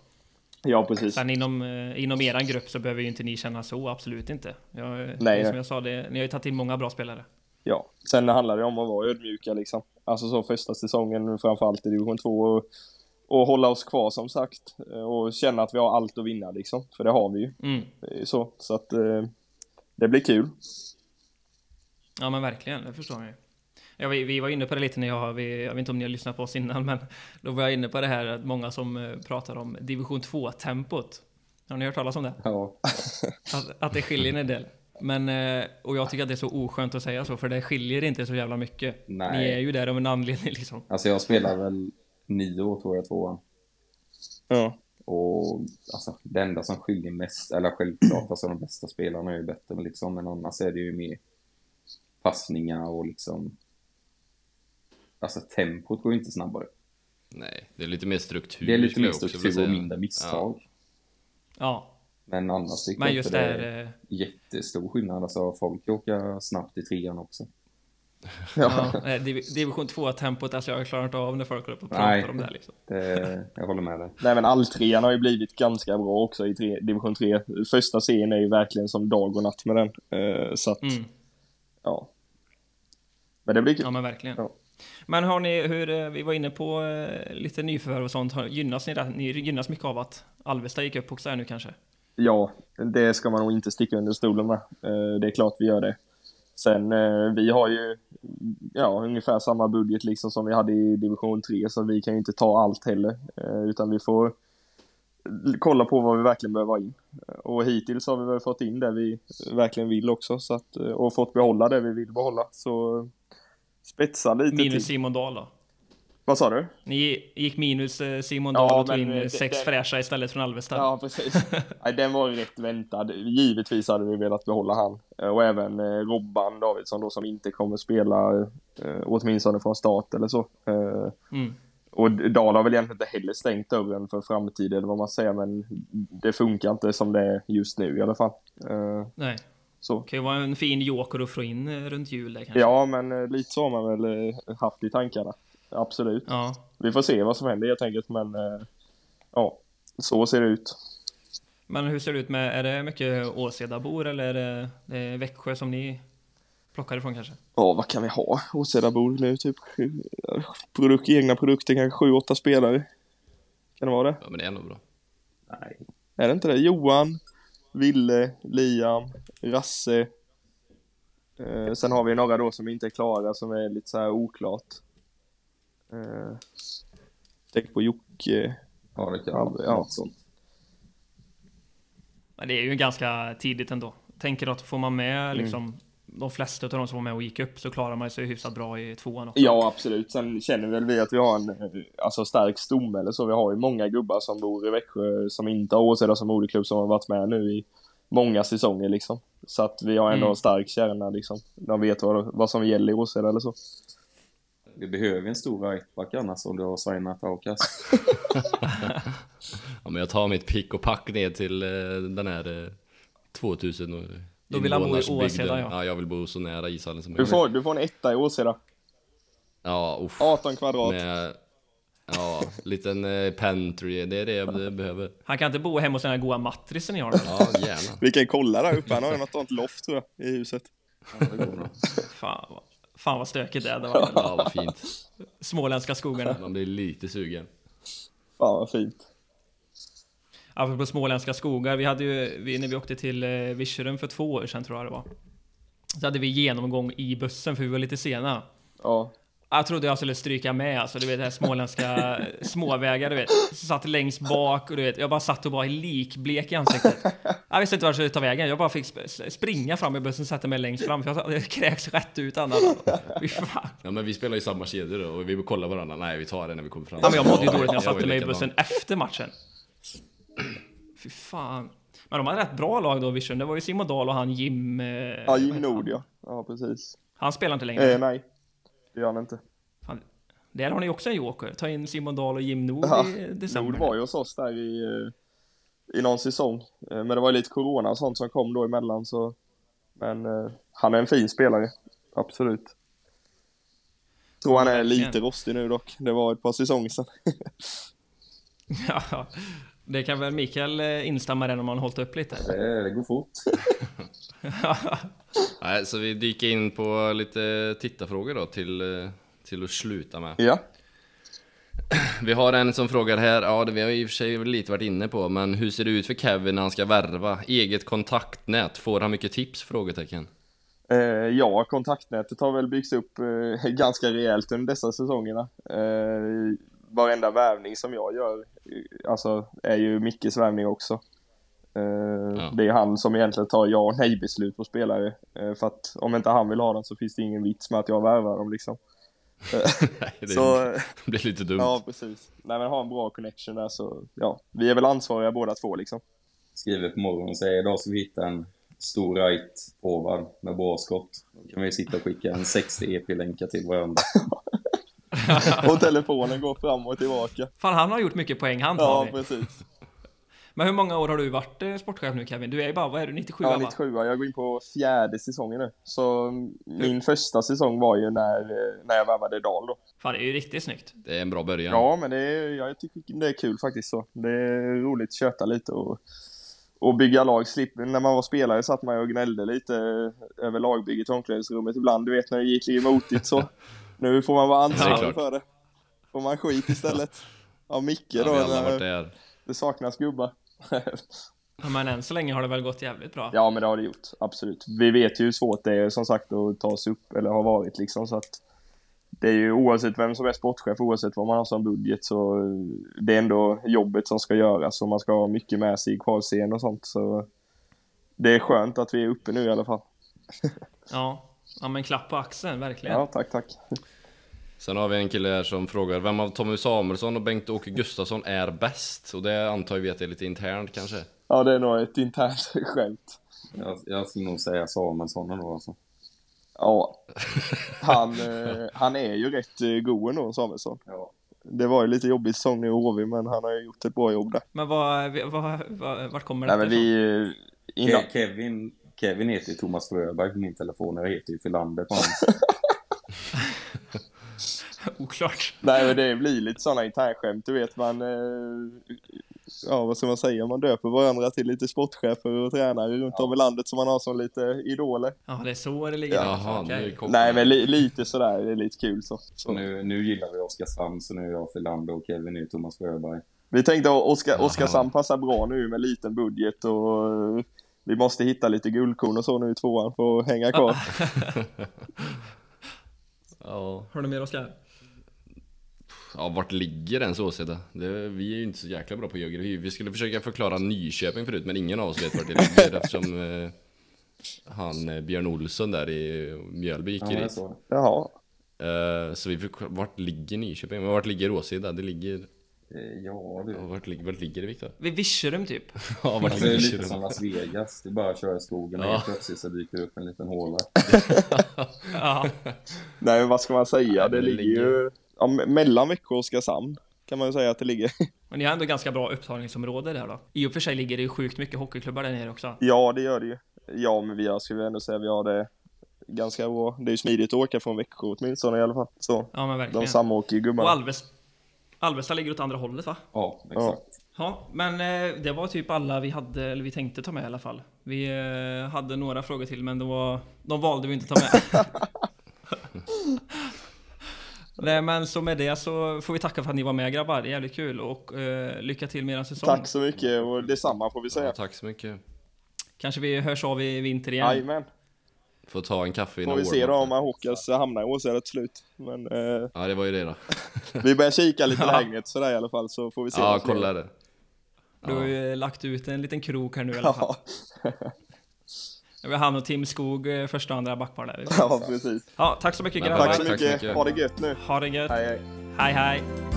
Ja, precis. Sen inom, eh, inom eran grupp så behöver ju inte ni känna så. Absolut inte. Jag, nej. nej, som jag sa, det, ni har ju tagit in många bra spelare. Ja, sen handlar det om att vara ödmjuka liksom. Alltså så första säsongen framförallt i division 2 och, och hålla oss kvar som sagt eh, och känna att vi har allt att vinna liksom, för det har vi ju. Mm. Det är ju Så, så att eh, det blir kul. Ja men verkligen, det förstår jag ju. Ja, vi, vi var inne på det lite när jag, vi, jag vet inte om ni har lyssnat på oss innan, men då var jag inne på det här att många som eh, pratar om division 2-tempot. Har ni hört talas om det? Ja, Att, att det skiljer en del. Men, eh, och jag tycker att det är så oskönt att säga så, för det skiljer inte så jävla mycket. Nej. Ni är ju där av en anledning liksom. alltså jag spelar väl nio år tror jag, tvåan. Ja. Och alltså, det enda som skiljer mest, eller självklart, alltså de bästa spelarna är ju bättre, men liksom, men annars är det ju mer passningar och liksom... Alltså tempot går ju inte snabbare. Nej, det är lite mer struktur Det är lite skulle mer jag också vilja struktur och säga. mindre misstag. Ja, Men annars tycker men jag just inte det det här... är eh, jättestor skillnad. Alltså folk åker snabbt i trean också. Ja, eh, div- division 2-tempot, alltså jag klarar inte av när folk håller på och pratar Nej. om det här liksom. Det, jag håller med dig. Nej men alltrean har ju blivit ganska bra också i tre, division 3. Första serien är ju verkligen som dag och natt med den. Eh, så att, Mm. ja. Men det blir kul. Ja men verkligen. Ja. Men har ni, hur, eh, vi var inne på eh, lite nyförvärv och sånt, Har- gynnas ni, där- ni gynnas mycket av att Alvesta gick upp också här nu kanske? Ja, det ska man nog inte sticka under stolen med. Eh, Det är klart vi gör det. Sen, eh, vi har ju ja, ungefär samma budget liksom som vi hade i division 3, så vi kan ju inte ta allt heller, eh, utan vi får l- kolla på vad vi verkligen behöver ha in. Eh, Och hittills har vi väl fått in det vi verkligen vill också, så att, eh, och fått behålla det vi vill behålla. Så spetsa lite Minus till. Simon Dahl då? Vad sa du? Ni gick minus eh, Simon Ja, Dahl och tog men, in eh, eh, det- sex det- fräscha istället från Alvesta. Ja, precis. Nej, den var ju rätt väntad. Givetvis hade vi velat behålla han. Eh, Och även eh, Robban Davidsson då som inte kommer spela eh, åtminstone från start eller så. Eh, Mm. och Dahl har väl egentligen inte heller stängt dörren för framtiden eller vad man säger, men det funkar inte som det är just nu i alla fall. Eh, Nej. så. Det kan ju vara en fin joker att få in eh, runt jul där kanske. Ja, men eh, lite så har man väl eh, haft i tankarna. Absolut. Ja. Vi får se vad som händer helt enkelt, men eh, ja, så ser det ut. Men hur ser det ut med, är det mycket Åsedabor eller är det, det är Växjö som ni plockar ifrån kanske? Ja, vad kan vi ha? Åsedabor nu, typ sju, produk, egna produkter, kanske sju, åtta spelare. Kan det vara det? Ja men det är ändå bra Nej. Är det inte det? Johan, Ville, Liam, Rasse. Eh, sen har vi några då som inte är klara, som är lite så här oklart. Eh, tänk på Jocke. Ja, det kan Ja, vara ja. något sånt. Men det är ju ganska tidigt ändå. Tänker att får man Mm. med liksom de flesta av de som var med och gick upp så klarar man sig hyfsat bra i tvåan också. Ja, absolut. Sen känner väl vi att vi har en eh, alltså, stark stomme eller så. Vi har ju många gubbar som bor i Växjö som inte har Åseda som moderklubb som har varit med nu i många säsonger liksom. Så att vi har ändå Mm. en stark kärna liksom. De vet vad, vad som gäller i Åseda eller så. Vi behöver en stor rightback annars om du har signat Aukas. Ja men jag tar mitt pick och pack ner till eh, den här eh, 2000 och Då vill han bo i invånarsbygden. Åseda, ja. ja jag vill bo så nära ishallen som Du möjligt får, du får en etta i Åseda. Ja, uff 18 kvadrat. Med, ja, liten eh, pantry, det är det jag be- behöver Han kan inte bo hemma hos den här goa matrisen ni har. då? Ja, gärna Vi kan kolla där uppe. Han har ju något sånt loft tror jag i huset. Fan, vad- fan vad stökigt det är där. va? Ja vad fint Småländska skogarna. Man blir lite sugen Fan vad fint. Apropå småländska skogar, vi hade ju, vi, när vi åkte till eh, Virserum för två år sedan tror jag det var. Så hade vi genomgång i bussen för vi var lite sena. Ja. Jag trodde jag skulle stryka med alltså, du vet det här småländska småvägar du vet. Så satt längst bak och du vet, jag bara satt och var likblek i ansiktet. Jag visste inte vart jag skulle ta vägen, jag bara fick sp- s- springa fram i bussen och sätta mig längst fram för jag, satt- jag kräks rätt ut annars. Fy fan. Ja men vi spelar ju samma kedjor då och vi kollar varandra, nej vi tar det när vi kommer fram Ja, men jag mådde ju dåligt när jag var satte mig i likadan. bussen efter matchen. Fy fan. Men de hade rätt bra lag då, Vision. Det var ju Simon Dahl och han Jim... eh, Ja, vad Jim heter Nord han? ja. Ja, precis. Han spelar inte längre. Eh, nej, det gör han inte. Fan. Där har ni också en joker. Ta in Simon Dahl och Jim Nord Ja, i december. Nord var ju hos oss där i, eh, i någon säsong. Eh, Men det var ju lite corona och sånt som kom då emellan så... Men eh, han är en fin spelare, absolut. Tror han är lite verkligen. rostig nu dock. Det var ett par säsonger sedan. Ja, det kan väl Mikael eh, instämma i den om han hållit upp lite? Det, det går fort. Nej, så vi dyker in på lite tittarfrågor då till, eh, till att sluta med. Ja. Vi har en som frågar här, ja det vi har i och för sig lite varit inne på, men hur ser det ut för Kevin när han ska värva? Eget kontaktnät, får han mycket tips? Frågetecken. Eh, ja, kontaktnätet har väl byggts upp eh, ganska rejält under dessa säsongerna. Eh, varenda värvning som jag gör eh, alltså, är ju Mickes värvning också. Eh, Det är han som egentligen tar ja och nej-beslut på spelare. Eh, för att om inte han vill ha dem så finns det ingen vits med att jag värvar dem liksom. Nej, det Så, eh, blir lite dumt. ja, precis. Nej, men ha en bra connection där så, ja. Vi är väl ansvariga båda två liksom. Skriver på morgonen och säger idag ska vi hitta en stor right forward med bra skott. Då kan vi sitta och skicka en 60 EP-länkar till varandra. Och telefonen går fram och tillbaka. Fan, han har gjort mycket poäng han Ja, Tommy. precis. Men hur många år har du varit eh, sportchef nu Kevin? Du är ju bara, vad är du, 97 Ja, va? 97 Jag går in på fjärde säsongen nu. Så min första säsong var ju när, eh, när jag värvade Dal då. Fan, det är ju riktigt snyggt. Det är en bra början. Ja, men det är, jag tycker det är kul faktiskt. så. Det är roligt att köta lite och, och bygga lag. Slipp, när man var spelare satt man ju och gnällde lite över lagbygget i omklädningsrummet ibland. Du vet när det gick lite motigt så. Nu får man vara Ja, det ansvarig är klart. för det. Får man skit istället. Av Micke Ja, då. vi har alla varit när, där. det saknas gubbar. Ja, Men än så länge har det väl gått jävligt bra. Ja, men det har det gjort. Absolut. Vi vet ju hur svårt det är som sagt att ta sig upp, eller har varit liksom. Så att det är ju oavsett vem som är sportchef, oavsett vad man har som budget, så eh, det är ändå jobbet som ska göras och man ska ha mycket med sig i kvalserien och sånt. Så det är skönt att vi är uppe nu i alla fall. Ja, ja men klapp på axeln, verkligen. Ja, tack, tack. Sen har vi en kille här som frågar, vem av Tommy Samuelsson och Bengt-Åke Gustafsson är bäst? Och det antar vi att det är lite internt kanske. Ja, det är nog ett internt skämt. Jag, jag skulle nog säga Samuelsson ändå alltså. Ja, han, eh, han är ju rätt eh, god ändå, Samuelsson. Ja. Det var ju lite jobbig säsong nu i HV, men han har ju gjort ett bra jobb där. Men vad, vad, vad, vart kommer det Nej, men vi... eh, Innan, Ke- Kevin, Kevin heter ju Thomas Fröberg på min telefon och jag heter ju Filander på hans. Oklart. Nej men det blir lite sådana internskämt, du vet man... Eh, ja vad ska man säga, man döper varandra till lite sportchefer och tränare runt om i landet som man har som lite idoler. Ja, det är så det ligger till. Jaha, Okej. nu kom Nej men li, lite sådär, det är lite kul så. Så nu, nu gillar vi Oskarshamn, så nu är jag Filander och Kevin är ju Thomas Fröberg. Vi tänkte att Oskar, Jaha. Oskarshamn passar bra nu med liten budget och eh, vi måste hitta lite guldkorn och så nu i tvåan för att hänga kvar. Ja. Har du mer Oskar? Ja, vart ligger ens Åseda? Det, vi är ju inte så jäkla bra på geografi. Vi skulle försöka förklara Nyköping förut, men ingen av oss vet vart det ligger eftersom eh, han eh, Björn Olsson där i Mjölby gick Ja, ju det är dit. så. Jaha, Eh, så vi fick, vart ligger Nyköping? Men vart ligger Åseda? Det ligger... Eh, Ja, ja, du. Vart, lig- vart ligger det Viktor? Vid Virserum typ. Ja, vart Alltså, det är ligger lite som Kyrun? Las Vegas. Det är bara att köra i skogen och Ja. helt plötsligt så dyker det upp en liten håla. Ja, nej men vad ska man säga, det det ligger ligger- ju ja, me- mellan Växjö och Oskarshamn kan man ju säga att det ligger. men ni har ändå ganska bra upptagningsområde där då. I och för sig ligger det ju sjukt mycket hockeyklubbar där nere också. Ja, det gör det ju. Ja, men vi har, skulle jag ändå säga, vi har det ganska bra. Det är ju smidigt att åka från Växjö åtminstone i alla fall. Så, Ja, men verkligen. de samåker ju Och gubbarna. Alves, Alvesta ligger åt andra hållet va? Ja, exakt. Ja, men eh, det var typ alla vi hade, eller vi tänkte ta med i alla fall. Vi eh, hade några frågor till, men de, var, de valde vi inte ta med. Nej, men så med det så får vi tacka för att ni var med grabbar. Det är jävligt kul och eh, lycka till med er säsong. Tack så mycket och detsamma får vi Ja, säga. tack så mycket. Kanske vi hörs av i vinter igen. Jajamän, Får ta en kaffe får innan vi se då warm-up. om Hawkas hamnar i Åsele till slut. Men eh, Ja, det var ju det då. vi börjar kika lite lägenhet sådär i alla fall så får vi se. Ja, vad som kolla händer. det. Du har ju lagt ut en liten krok här nu i alla fall. Ja, Vi har han och Tim Skog eh, första och andra backpar där. ja, precis. Ja, tack så mycket Men grabbar. Tack så Tack så mycket, mycket. ha det gött nu. Ha det gött. Hej, hej. Hej hej.